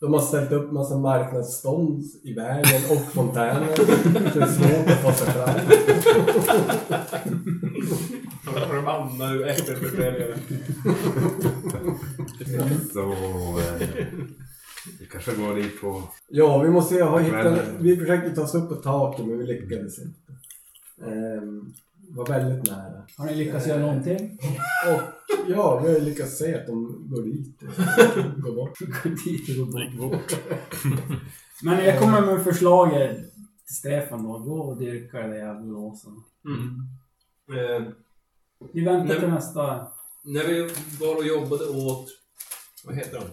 De har ställt upp massa marknadsstånd i vägen och fontäner. Så det är svårt att ta sig fram.
De hamnar ju efter försäljaren.
Så... Eh, vi kanske går dit på...
Ja, vi måste ju ha hittat...
Kvällen.
Vi försökte ta oss upp på taket men vi lyckades inte. Ehm, var väldigt nära.
Har ni lyckats göra någonting?
Och ja, vi har ju lyckats se att de går dit och går bort.
Men jag kommer med förslag till Stefan då. Gå och dyrka det där jävla låsen.
Eh,
Vi väntar
Nej,
till
men-
nästa...
När vi var och jobbade åt... Vad heter de?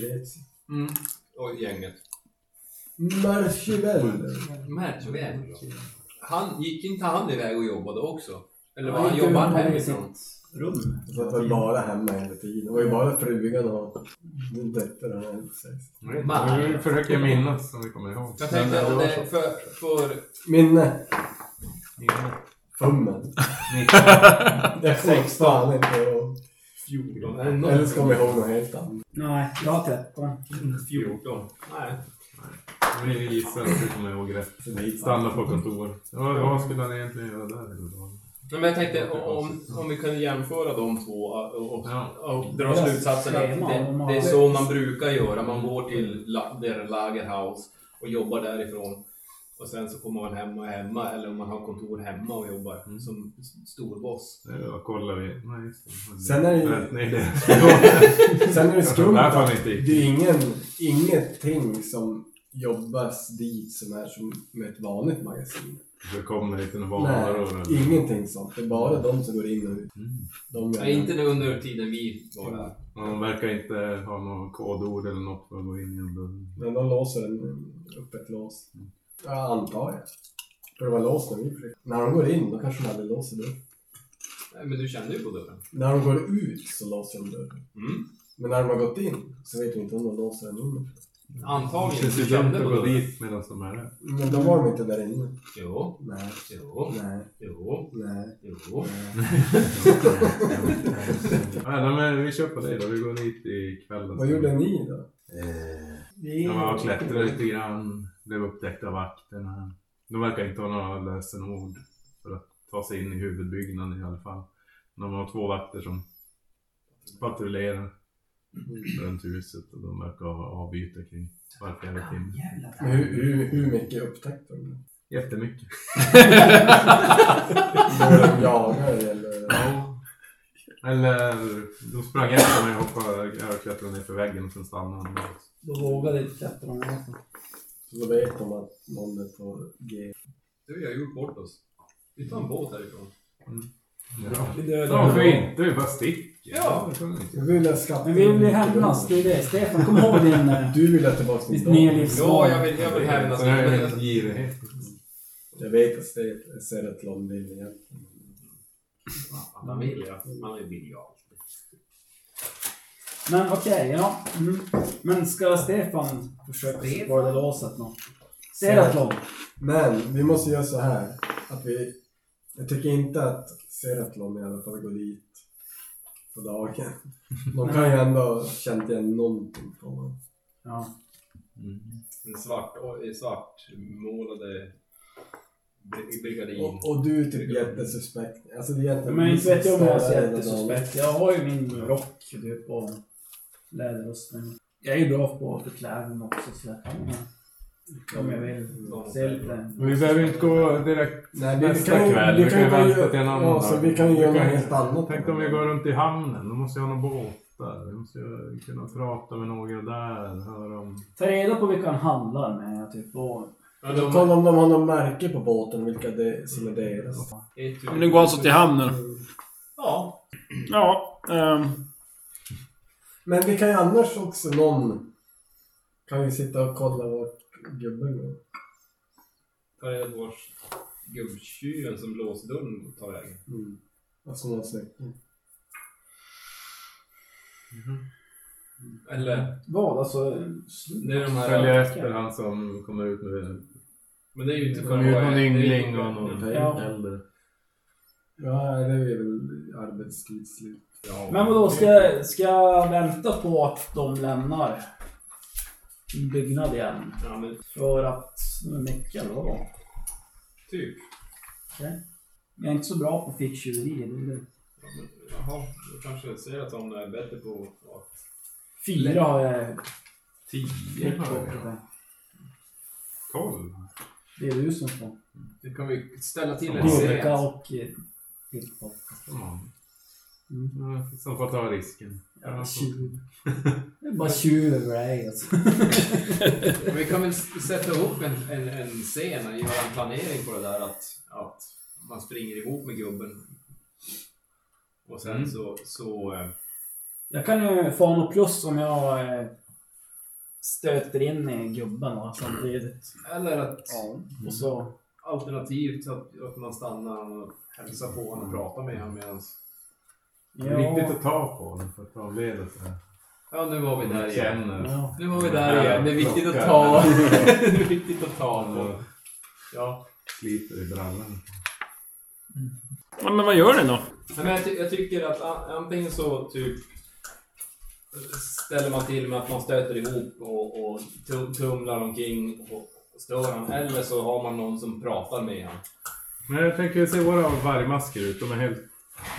Greps.
Mm. Och gänget.
Marchivelle.
Märkväg. Han gick inte han iväg och jobbade också? Eller var
Ja,
han
inte
jobbade han
utan
hemifrån?
sitt Rum.
Så att det var bara hemma hela tiden. Det var ju bara frugan och döttrarna. höll jag på att säga.
Nej.
Vi försöker minnas om vi kommer ihåg.
Jag tänkte
Men eh,
att
var så.
det för, för
Minne.
Minne.
eh, Fummen.
Nick-
Jag kommer fan inte och...
14.
Eller ska man ihåg något helt annat?
Nej, jag har 13.
14. Nej.
Men Vi gissar att vi kommer ihåg rätt. Stanna på kontoret. Ja, vad skulle han egentligen göra där?
Men jag tänkte om, om vi kunde jämföra de två och, och,
Ja.
och dra slutsatsen att det, det är så man brukar göra. Man går till la, der Lagerhaus och jobbar därifrån. Och sen så kommer man hem och är hemma eller om man har kontor hemma och jobbar
Mm.
som storboss.
Ja, kollar vi. Nej, just det.
Sen är det ju-
Nej, nej, det...
Sen är det
Jag tror
skumt
det här fan
att
inte gick.
det är ingen, ingenting som jobbas dit som är som med ett vanligt magasin.
det kommer lite
Nej,
varor. eller-
ingenting sånt. Det är bara de som går in och ut.
Mm.
De
Nej, inte nu under tiden vi var där.
De verkar inte ha något kodord eller något för att gå in genom dörren.
Men de låser en, upp ett lås. Ja, antar jag. För det var låst när vi flyttade. När de går in, då kanske de aldrig låser dörren.
Nej, Men du kände ju på dörren. Mm.
När de går ut så låser de dörren. Men när de har gått in så vet vi inte om de låser den inne.
Det
Antagligen.
känns ju
Du
dumt
kände
att
på
gå
dörren.
dit medan de är där.
Men då var de inte där inne.
Jo,
Nej,
jo,
nej,
jo,
nej.
jo.
Nej, nej, men vi kör på dig då. Vi går dit ikväll.
Vad gjorde ni då?
Jag var och klättrade lite grann. Blev upptäckt av vakterna. De verkar inte ha några lösenord för att ta sig in i huvudbyggnaden i alla fall. De har två vakter som patrullerar runt huset och de verkar ha avbyte kring var fjärde timme.
Men Hur, hur, hur mycket upptäckte de?
Jättemycket.
Började de jaga er, eller?
Ja. Eller de sprang efter mig och hoppade över klättrade ner för väggen och sen stannade de.
Då vågade inte klättrarna.
Så då vet de att någon är på G.
Du, jag har gjort bort oss. Vi tar en båt härifrån.
Ja.
Vi dödade
Varför
dem.
inte? Vi bara sticker.
Ja.
Det kan vi inte.
Du ville skatta.
Men vi vill ju hämnas, det är det. Stefan, kom ihåg din... eh,
Du ville tillbaka till
Ditt
dem.
medlivsval.
vill, jag
Så det är en girighet.
Jag vet att det är Seratlon vill egentligen.
Man vill ju. Man vill ju alltid.
Men okej, ja. Mm. Men ska Stefan försöka vara i låset nå? Seratlon.
Men vi måste göra så här. Att vi, jag tycker inte att Seratlon i alla fall går dit på dagen. De kan ju ändå ha känt igen någonting på honom.
Ja.
Mm.
En svart, svart målade brigadin.
Och, och du är typ jättesuspekt. Alltså det är egentligen...
Men inte vet jag om jag är så
Där är det någon-
jättesuspekt. Jag har ju min rock typ och läderrustning. Jag är ju bra på förklädning också så jag kan ju- om jag vill se lite.
Men vi behöver inte gå direkt
Nej, vi, vi
nästa
kan ju...
kväll.
Vi kan ju
vänta
göra-
till en annan
Ja, så
dag.
vi kan ju göra
Vi
något
kan-
helt annat.
Tänk om vi går runt i hamnen. Då måste jag ha några båtar. Vi måste ju kunna prata med några där. Höra om...
Ta reda på vilka han handlar med typ och...
Ja,
Och Kolla om de har något märke på båten, vilka det, som är deras.
Ja, Men nu går alltså till hamnen.
Ja.
Ja. ehm,
Men vi kan ju annars också någon... Kan ju sitta och kolla vart gubben går.
Tar reda på vars gubbtjuven som låser dörren tar vägen.
Mm. Alltså någon släkting.
Eller,
Vad? Alltså...
det är de här...
Följa efter han som kommer ut med...
Men det är ju inte
Kommer ut någon yngling och någon
Ja.
äldre.
Ja, det är väl arbetstidsslut.
Ja.
Men vadå, ska, jag- ska jag vänta på att de lämnar min byggnad igen?
Ja, men
För att mecka eller vadå?
typ.
Jag är inte så bra på ficktjuverier. det är det.
Ja, men, jaha, då kanske jag säger att han är bättre på... Ja.
Fyra har jag
Tio?
fått bort.
Tolv?
Det är du som får.
Det kan vi ställa till en
Gurka
scen.
och eh, pickpock.
Ja.
Mm.
Ja, Som får ta risken.
Jävla tjuv. Det är bara tjuv över dig alltså.
Men Vi kan väl s- sätta upp en, en, en scen och göra en planering på det där att, att man springer ihop med gubben. Och sen
Mm.
så, så eh,
Jag kan ju få något plus om jag eh, stöter in i gubben va, samtidigt.
Eller att
Och så...
alternativt att, att man stannar och hälsar på honom och pratar med honom medans...
Det är viktigt
Ja,
att ta på den för att avleda sig.
Ja, nu var vi där igen.
ja.
Nu var vi där igen. Det är viktigt att ta... det är viktigt att ta på. Ja.
Sliter i brallan.
ja, men vad gör den då?
Nej, Men jag, ty- jag tycker att an- antingen så typ ställer man till med att man stöter ihop och, och tum- tumlar omkring och och stör honom. Eller så har man någon som pratar med honom.
Men jag tänker, se våra vargmasker ut? De är helt...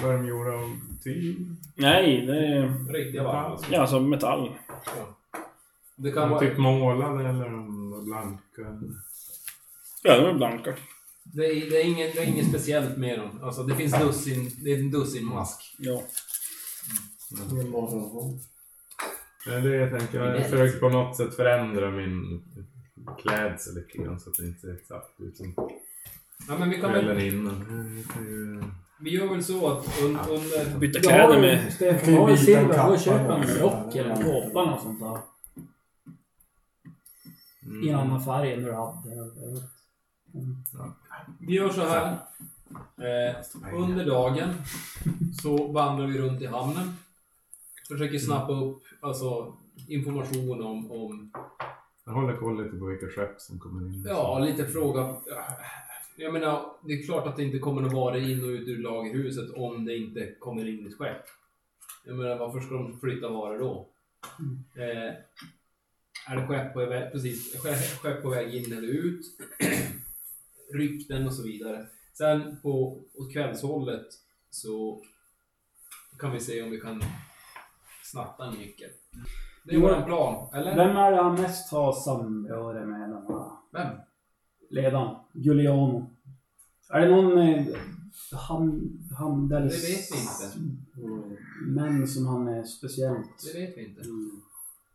Vad är de gjorda av? Tyg?
Nej, det är...
Riktiga varmhalsar.
Ja, alltså metall.
Det kan
De
vara...
typ målade eller de var blanka?
Ja, de är blanka.
Det är, det, är inget, det är inget speciellt med dem. Alltså, det finns dussin, det är en dussinmask.
Ja.
Ingen morgonhåll.
Men det jag tänker, jag försöker på något sätt förändra min klädsel lite grann så att det inte ser exakt ut som
Ja, men vi, kan väl,
kvällen innan. Eh, jag kan ju-
vi gör väl så att un, under...
Byta
Du har
kläder
ju,
med...
Stefan,
Kan
du
ju
har ju
byta en
silver. Gå och
kappa
köp en
eller-
rock eller en kåpa eller något sånt där.
Mm.
I en annan färg än du hade. Jag vet.
Vi gör så här. Eh, under dagen så vandrar vi runt i hamnen. Försöker snappa upp alltså, information om, om...
Jag håller koll lite på vilka skepp som kommer in.
Ja, lite fråga. Jag menar, det är klart att det inte kommer att vara in och ut ur lagerhuset om det inte kommer in ett skepp. Jag menar, varför ska de flytta varor då? Eh, är det skepp på, väg, precis, skepp- skepp på väg in eller ut? Rykten och så vidare. Sen på åt kvällshållet så kan vi se om vi kan snatta en nyckel. Det är våran plan, eller?
Vem är det han mest har samröre med? Den här
Vem?
ledaren? Giuliano. Är det någon eh, ham, handels...
Det vet vi inte.
Män som han är speciellt...
Det vet vi inte.
Mm.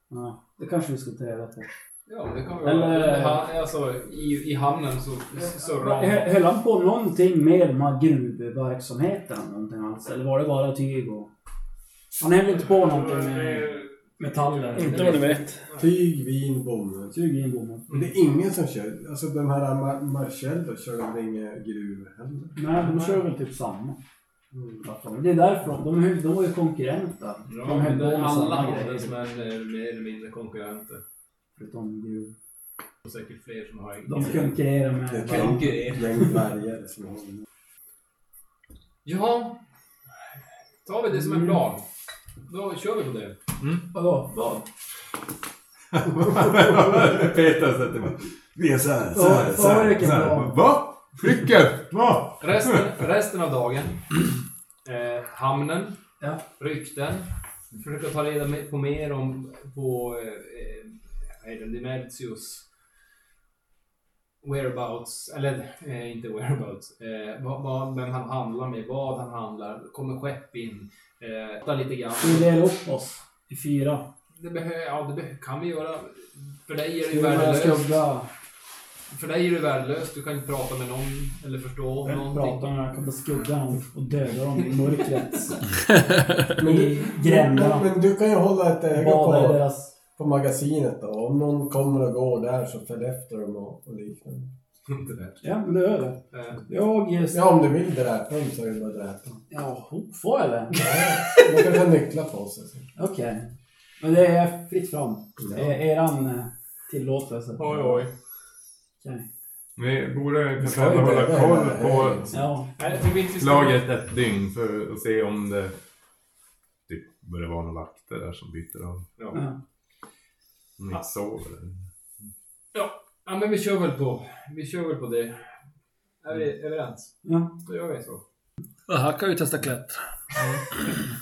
Ja, det kanske vi ska ta reda på.
Ja, det kan vi
Eller-
Eller... Eller, alltså, i, I hamnen så surrar
Hö-
han.
Höll han på någonting med de här gruvverksamheten eller någonting alls? Eller var det bara tyg och... Han höll inte på någonting med metaller?
Inte vad ni vet.
Tyg, vin, bomull.
Tyg i en bomull.
Men det är ingen som kör. Alltså de här Mar- Marcello kör de inga gruvor heller.
Nej, de kör väl typ samma. Det är därför de, de, är- de var ju konkurrenter.
Mm. Ja,
de höll
men
på
det är
med
alla
samma grejer.
handelsmän är mer eller mindre konkurrenter.
Förutom gruv.
Och säkert fler som har...
De konkurrerar
Det är
med
bara
varandra.
Konkurrerar.
ett gäng dvärgar som håller.
Ja, tar vi det
Mm.
som en plan. Då kör vi på det.
Vadå? Vad?
Peter sätter mig.
Vi är såhär,
så här, så här, så här.
Va? Flicka? Va?
Resten, resten av dagen. Eh, hamnen.
Ja.
Rykten. Försöka ta reda med- på mer om på eh, eh, vad heter det, Demertius whereabouts, eller eh, inte whereabouts, eh, vad, vad, vem han handlar med, vad han handlar, kommer skepp in, eh, ta lite grann.
Ska vi dela upp oss i fyra?
Det, behö, ja, det behö, kan vi göra. För dig är det
Ska
ju
vi börja
värdelöst.
skugga?
För dig är det värdelöst. Du kan inte prata med någon eller förstå någonting.
Prata med den här skuggan och döda dem i mörkret.
Men du,
I gränderna.
men du kan ju hålla ett öga
Bada i
på,
deras...
på magasinet då. Om någon kommer och går där så följ efter dem och, och liknande.
Inte det.
Ja, men det är det.
Eh,
Jag ger...
Ja, om du vill dräpa dem så är det bara att dräpa dem.
Ja, får jag det?
De kanske har nycklar på sig.
Okej. Men det är fritt fram.
Ja.
E- eran eh, tillåtelse.
Oj, oj.
Okej.
Vi borde
Vi
kanske
ska ju
ändå hålla
döda
koll
hela-
på
Ja.
Nej, jag tror inte vi ska-
laget ett dygn för att se om det typ börjar vara några vakter där som byter av.
Ja.
ja.
Om de inte sover.
ja, men vi kör väl på, vi kör väl på det. Är vi
Mm.
överens?
ja.
Då gör vi så.
Ja, här kan vi testa klättra.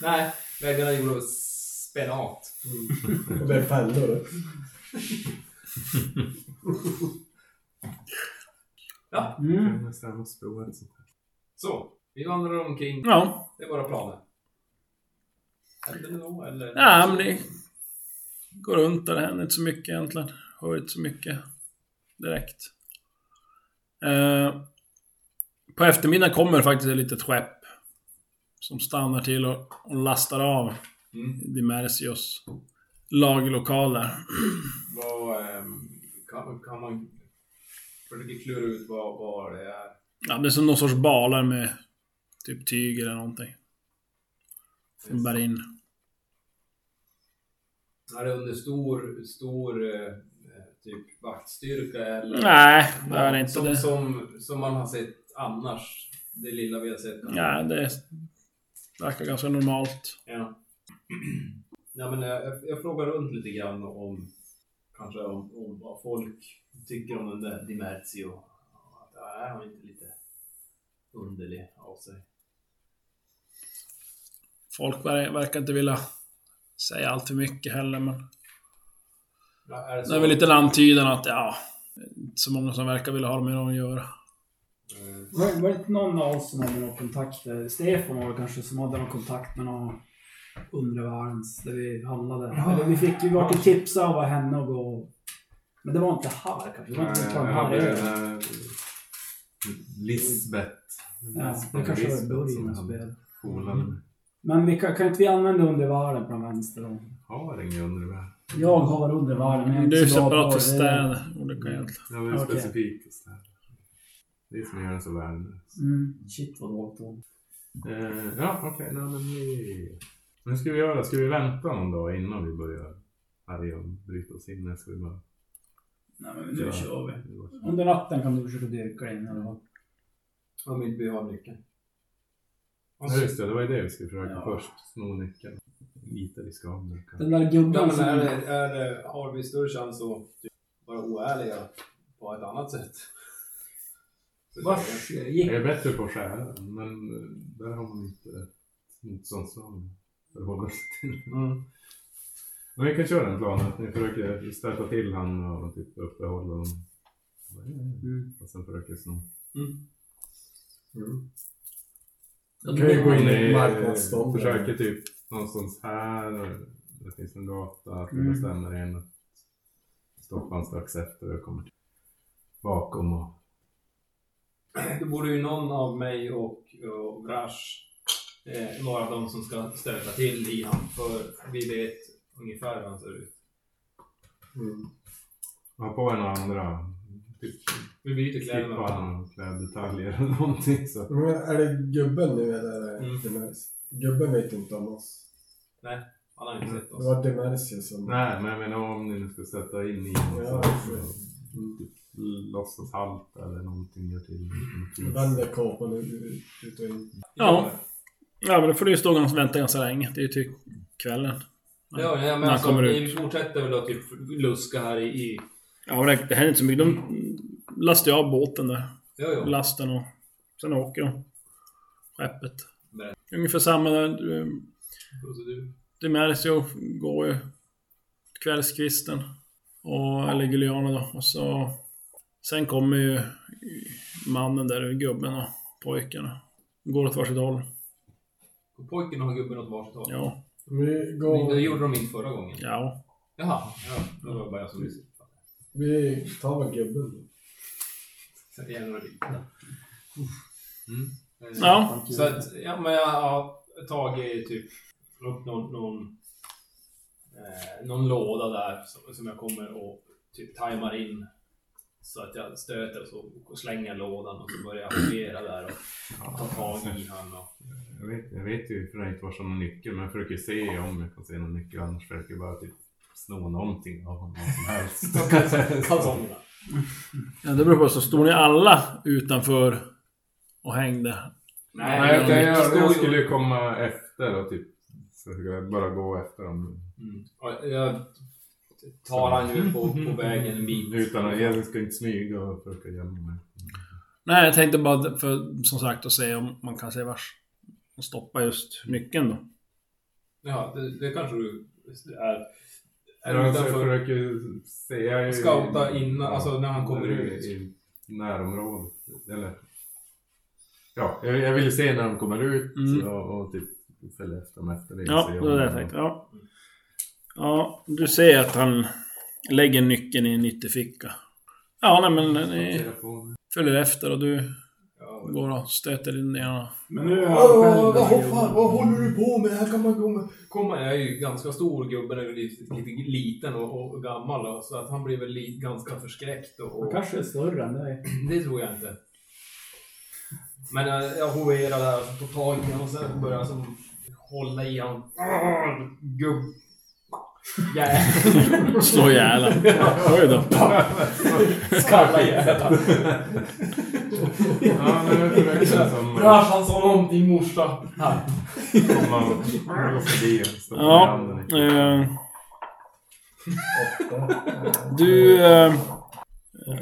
Nej, väggarna är gjorda av spenat.
Och det är fällor.
Mm.
Jag måste ändå prova ett sånt här.
Så, vi vandrar omkring.
Ja.
Det är våra planer. Händer det då, eller?
Ja, men det går runt där. Det händer inte så mycket egentligen. Hör inte så mycket direkt. Eh, på eftermiddagen kommer faktiskt ett litet skepp. Som stannar till och, och lastar av
Mm.
Dimersios lagerlokaler.
Vad, ehm, kan, kan man försöka klura ut vad, vad det är?
Ja, det är som någon sorts balar med typ tyg eller någonting. Som bär in.
Är det under stor, stor eh, typ vaktstyrka eller?
Nej, det är inte
som,
det.
Som, som man har sett annars. Det lilla vi har sett.
Nej, det är- verkar ganska normalt.
Ja. Nej, men eh, jag, jag- jag frågar runt lite grann om kanske om, om vad folk tycker om den där Dimerzio. Att är han inte lite underlig av sig?
Folk ver- verkar inte vilja säga allt för mycket heller, men
Ja, är det, så?
det är väl lite en antydan att ja, inte så många som verkar vilja ha det med någon att göra.
Var, var det inte någon av oss som hade några kontakter? Stefan var det kanske som hade någon kontakt med någon undre världens där vi handlade. Eller vi fick ju vart tipsa av henne och gå. Men det var inte här kanske. Det var inte
Nej,
på
jag
den
hade
här
den
ön.
här Lisbeth.
Ja, det kanske var i början av
som
spelet. Mm.
polaren.
Men vi, kan, kan inte vi använda undervärlden på den vänster då?
Har ingen undervärld.
Jag har undervärlden. men jag
Det är ju
inte så bra
separat
på
till städer. Olika egentligen.
Ja, men
Okej.
specifik och sådär. Det är som gör den så värdelös.
Mm, shit vad dåligt då.
Eh, ja, okej. Nej, men vi... Men hur ska vi göra? Ska vi vänta någon dag innan vi börjar härja och bryta oss in? Eller ska vi bara...
Nej men nu
Ja.
kör vi. Under natten kan du försöka dyrka dig in i alla fall.
Om inte vi har nyckeln.
Ja, just det. Det var ju det vi skulle försöka
Ja.
först. Sno nyckeln. Lite riskabelt kanske.
Den där gubben
Ja, men
som...
är, det- är, det- har vi större chans att typ vara oärliga på ett annat sätt? Så
Vars eh,
Jag
gick...
är bättre på att skära, men eh, där har man inte rätt motståndsram för att hålla sig till. Men vi kan köra en plan att ni försöker stöta till han och typ uppehålla dem.
Mm.
Och sen försöker sno.
Jag kan ju gå in
Ni,
i
eh,
marknadsstånd.
Försöker typ någonstans här, det finns en gata, att ni
Mm.
bestämmer en att stoppa han strax efter och kommer till- bakom och
Då borde ju någon av mig och, och Vrash eh, vara de som ska stöta till i han. För vi vet ungefär hur han ser ut.
ha på en andra. Typ
Vi byter kläderna.
klippa han och kläddetaljer eller någonting så.
Men är det gubben nu eller? är
Mm.
det Demersius? Gubben vet inte om oss.
Han har inte sett
Det
oss.
var Demersius som...
Nej, men jag menar om ni nu ska sätta in i
Ja,
någon
precis. Mm.
låtsas halt eller någonting gör till.
Mm. Vänder kåpan ut ut och in.
Ja. Ja, men då får du ju stå och vänta ganska länge. Det är ju till kvällen.
Ja, ja,
När
men
han
alltså,
kommer
vi fortsätter väl att typ luska här i... i
Ja, men det, det händer inte så mycket. De lastar ju av båten där.
jo, jo.
Lasten och... Sen åker de. Skeppet.
Nej.
Ungefär samma där. eh,
procedur.
Det märks ju, går ju kvällskvisten. Och, eller Guliana då. Och så... Sen kommer ju mannen där, gubben och pojken. och Går åt varsitt håll.
Och Pojken och gubben åt varsitt håll.
Ja.
Vi
Men Det
går...
gjorde de inte förra gången.
Ja.
Jaha, ja, det var bara jag som missuppfattade.
Vi tar väl gubben.
Så det är några
Mm.
bitar. Eh,
Ja.
Så att, ja, men jag har tagit typ upp någon, någon, eh, någon låda där som, som jag kommer och typ tajmar in. Så att jag stöter och, så, och slänger lådan och så börjar jag agera där och ta tag i han. Och,
Jag vet, jag vet ju för det inte var som en nyckel, men jag försöker se om jag kan se någon nyckel. Annars försöker jag bara typ snå någonting av honom, vad som helst.
kalsongerna.
ja det beror på. Så stod ni alla utanför och hängde?
Nej, jag, jag, jag,
Stod ju-
jag skulle ju komma efter och typ försöka bara gå efter dem.
Mm. Och jag tar han ju på, på vägen en bit.
Utan att, jag ska inte smyga och försöka gömma mig.
Nej, jag tänkte bara för, som sagt att se om man kan se vars. Och stoppa just nyckeln då.
Ja, det, det kanske du är. är
Jag
utanför.
försöker ju se... jag är ju-
Scouta innan, alltså när han kommer
när det är
ut.
I närområdet. Eller... Ja, jag, jag vill ju se när de kommer ut
Mm.
och, och typ följa efter dem efter det.
Ja,
Se
det
om
var det jag
de-
tänkte. Ja. ja, du ser att han lägger nyckeln i en ytterficka. Ja, nej men ni
Titta på.
följer efter och du
Ja,
går och stöter in i honom.
Men nu är jag
Åh,
själv
vad
där i
hoppar, vad håller du på med? Här kan man gå med...
komma, jag är ju ganska stor, gubben är väl lite lite liten och, och gammal och, så att han blir väl li, ganska förskräckt. Och,
Han
och,
kanske är större än dig.
det tror jag inte. Men eh, jag, jag hoverar där och så tar tag i honom och sen börjar jag som hålla i honom. Arr, Gubb... Jävlar.
Slå ihjäl honom. Oj då.
Skalla jävlar.
Ja, men jag försöker liksom
Brash han sa någonting morsa. Här.
komma och gå förbi och stoppa
Ja,
i handen.
Eh, du... Eh,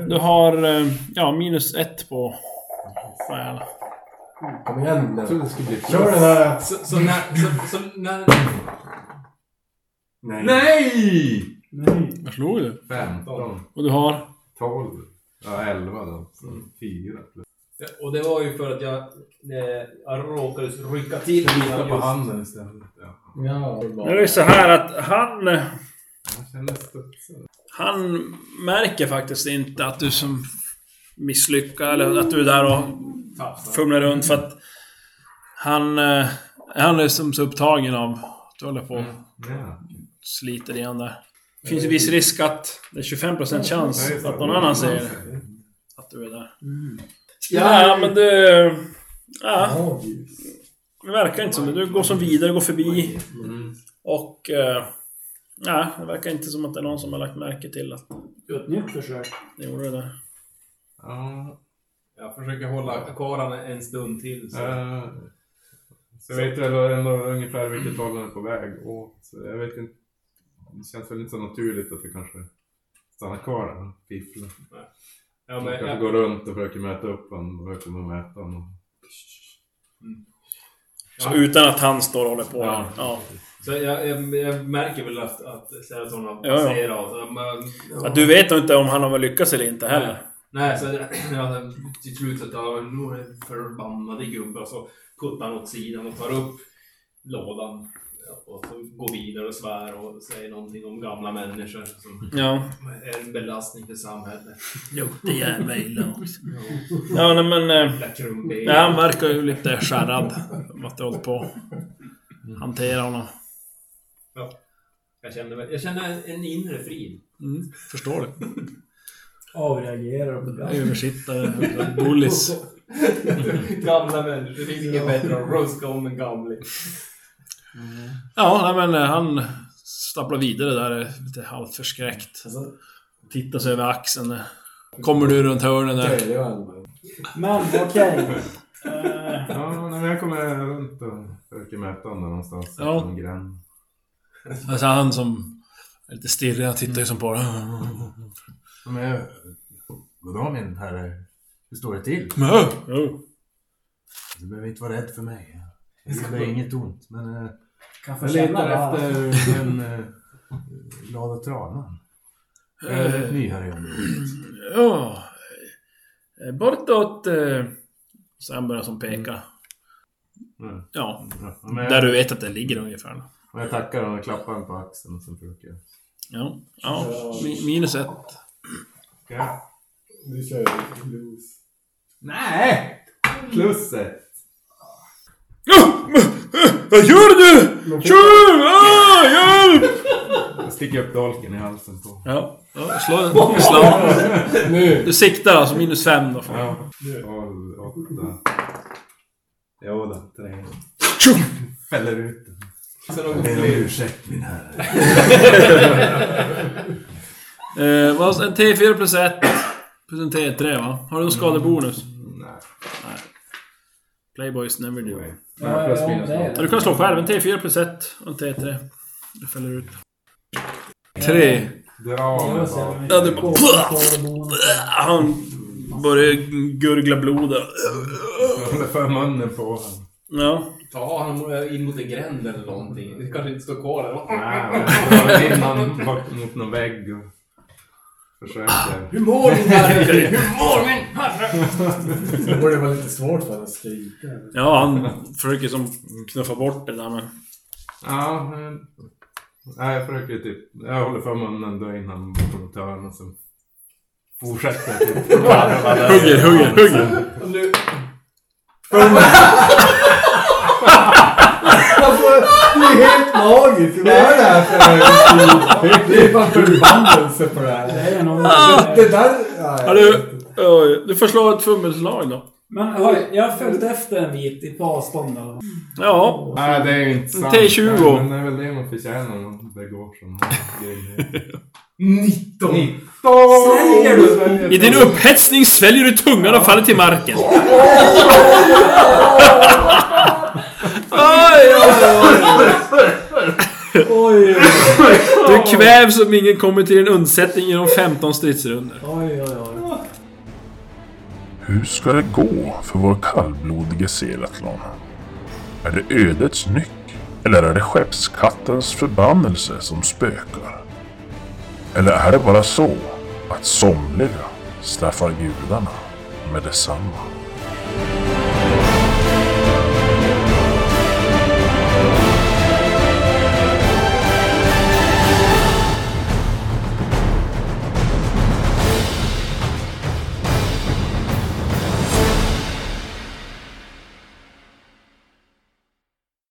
du har eh, ja, minus ett på... på ihjäl.
Kom igen
Jag
nu.
trodde det skulle bli
Kör den här...
Så, så när... Så, så när...
Nej!
Nej!
Vad slog du?
15.
Och du har?
12. Ja, 11 då. Så
Mm.
fyra plus.
Och det var ju för att jag, eh, jag råkade rycka till
Titta
mina
på
just.
handen istället. Ja.
Ja, det
Nu är det så här att han...
Jag känner studsar.
Han märker faktiskt inte att du som misslyckas eller att du är där och fumlar runt för att han... eh, Han är liksom så upptagen av att du håller på och
Ja.
sliter igen där. Mm. Det finns ju viss risk att det är 25% chans att någon annan säger det. Att du är där. Ja, men du... Ja,
Ja, ljus.
det verkar inte som det. Du går som vidare, går förbi och... eh, Nej, det verkar inte som att det är någon som har lagt märke till att
Ett nytt försök.
ni gjorde det där.
Ja.
Jag försöker hålla kvar han en stund till. Så.
eh, Så jag vet väl ändå ungefär vilket håll den är på väg åt. Så jag vet inte. Det känns väl inte så naturligt att vi kanske stannar kvar där och fifflar.
ja, men,
Jag kanske
jag,
går runt och försöker möta upp honom och jag kommer att möta honom.
Så utan att han står och håller på.
Ja.
Ja.
så jag, jag, jag märker väl att, att Seraton har
Ja, ja.
passerat. så man-
Att du vet nog inte om han har lyckats eller inte heller.
Nej, så ja, till slut att jag nu är det förbannade gubbar så kuttar han åt sidan och tar upp lådan. Ja, Och så går vidare och svär och säger någonting om gamla människor som
Ja.
är en belastning för samhället.
Luktar jävla illa också. Ja, nej, men... eh,
Jävla krumben.
Nej, han verkar ju lite skärrad. om Att du hållit på och hantera honom.
Jag känner, väl- jag känner en inre frid.
Mm, förstår det.
Avreagerar på det.
Översittare, bullis.
gamla människor, det finns inget bättre än att ruska om en gamling.
Ja, nej, men eh, han stapplar vidare där eh, lite halvt förskräckt.
Alltså,
Tittar sig över axeln. eh. Kommer du runt hörnen där?
döljer varandra.
Men okej. Eh,
Ja, nej, men jag kommer runt och försöker möta honom någonstans.
Ja.
Någon gränd.
Alltså han som är lite stirrig, han tittar ju som på dig.
Ja, Men jag... Goddag min herre. Hur står det till?
Men, eh, jo.
Du behöver inte vara rädd för mig. Jag gjorde inget ont. Men eh,
kan få
jag
känna
letar
det här.
efter den eh, glada tranan. Jag är
Eh.
rätt ny här i området.
Ja. eh, Bortåt... eh, Så han börjar som peka.
Mm.
Ja.
Ja, men jag-
Där du vet att det ligger ungefär.
Och jag tackar honom och klappar honom på axeln och sen försöker jag.
Ja. ja. mi- Minus ett.
Ska jag?
Du kör ju loose.
Nej! Plus ett.
eh, Vad gör du? Tjuv! Hjälp!
Jag sticker upp dolken i halsen på.
Ja. ja slå en slag.
Nu!
Du siktar alltså minus fem då.
Ja. Tolv, åtta. Jo då, tre. Fäller ut den.
Så de
Jag ber om ursäkt min herre.
Eh, vad- en T4 plus ett. Plus en T3 va? Har du någon skadebonus?
Nej.
Playboys never do.
Nej.
Ja,
Plus
ja,
minus
det är
noll.
Ja, du kan slå själv. En T4 plus ett och en T3. Det fäller ut. Tre.
Dra mig bara.
Ja, du bara... Han börjar gurgla blod där.
Jag håller för munnen på honom.
Ja.
tar honom in mot en gränd eller någonting. Det kanske inte står kvar där.
Nej, men jag drar in honom bort mot någon vägg och försöker.
Hur mår din herre? Hur mår min herre?
Det borde vara lite svårt för henne att skrika.
Ja, han försöker som knuffa bort det där men...
Ja, men... Nej, jag försöker typ... Jag håller för munnen, drar in honom bakom ett hörn och sen fortsätter jag typ. varva där.
Hugger, hugger, hugger!
Om du...
Alltså, det är helt magiskt! Vad är det här för Det är bara förbannelse på det
Det
här.
är någon...
Det där... nej.
Ja, du, oj, du får slå ett fummelslag då.
Men hörru, jag har följt efter en bit i på avstånd. då.
Ja.
Nej, det är ju inte sant.
T20.
Men det är väl det man förtjänar när man begår sådana grejer.
19!
Säger
I din upphetsning sväljer du tungan och faller till marken. Oj, oj,
Oj,
oj. Du kvävs om ingen kommer till din undsättning genom 15 stridsrundor.
oj, oj, oj.
Hur ska det gå för vår kallblodige Seratlon? Är det ödets nyck? Eller är det skeppskattens förbannelse som spökar? Eller är det bara så att somliga straffar gudarna med detsamma.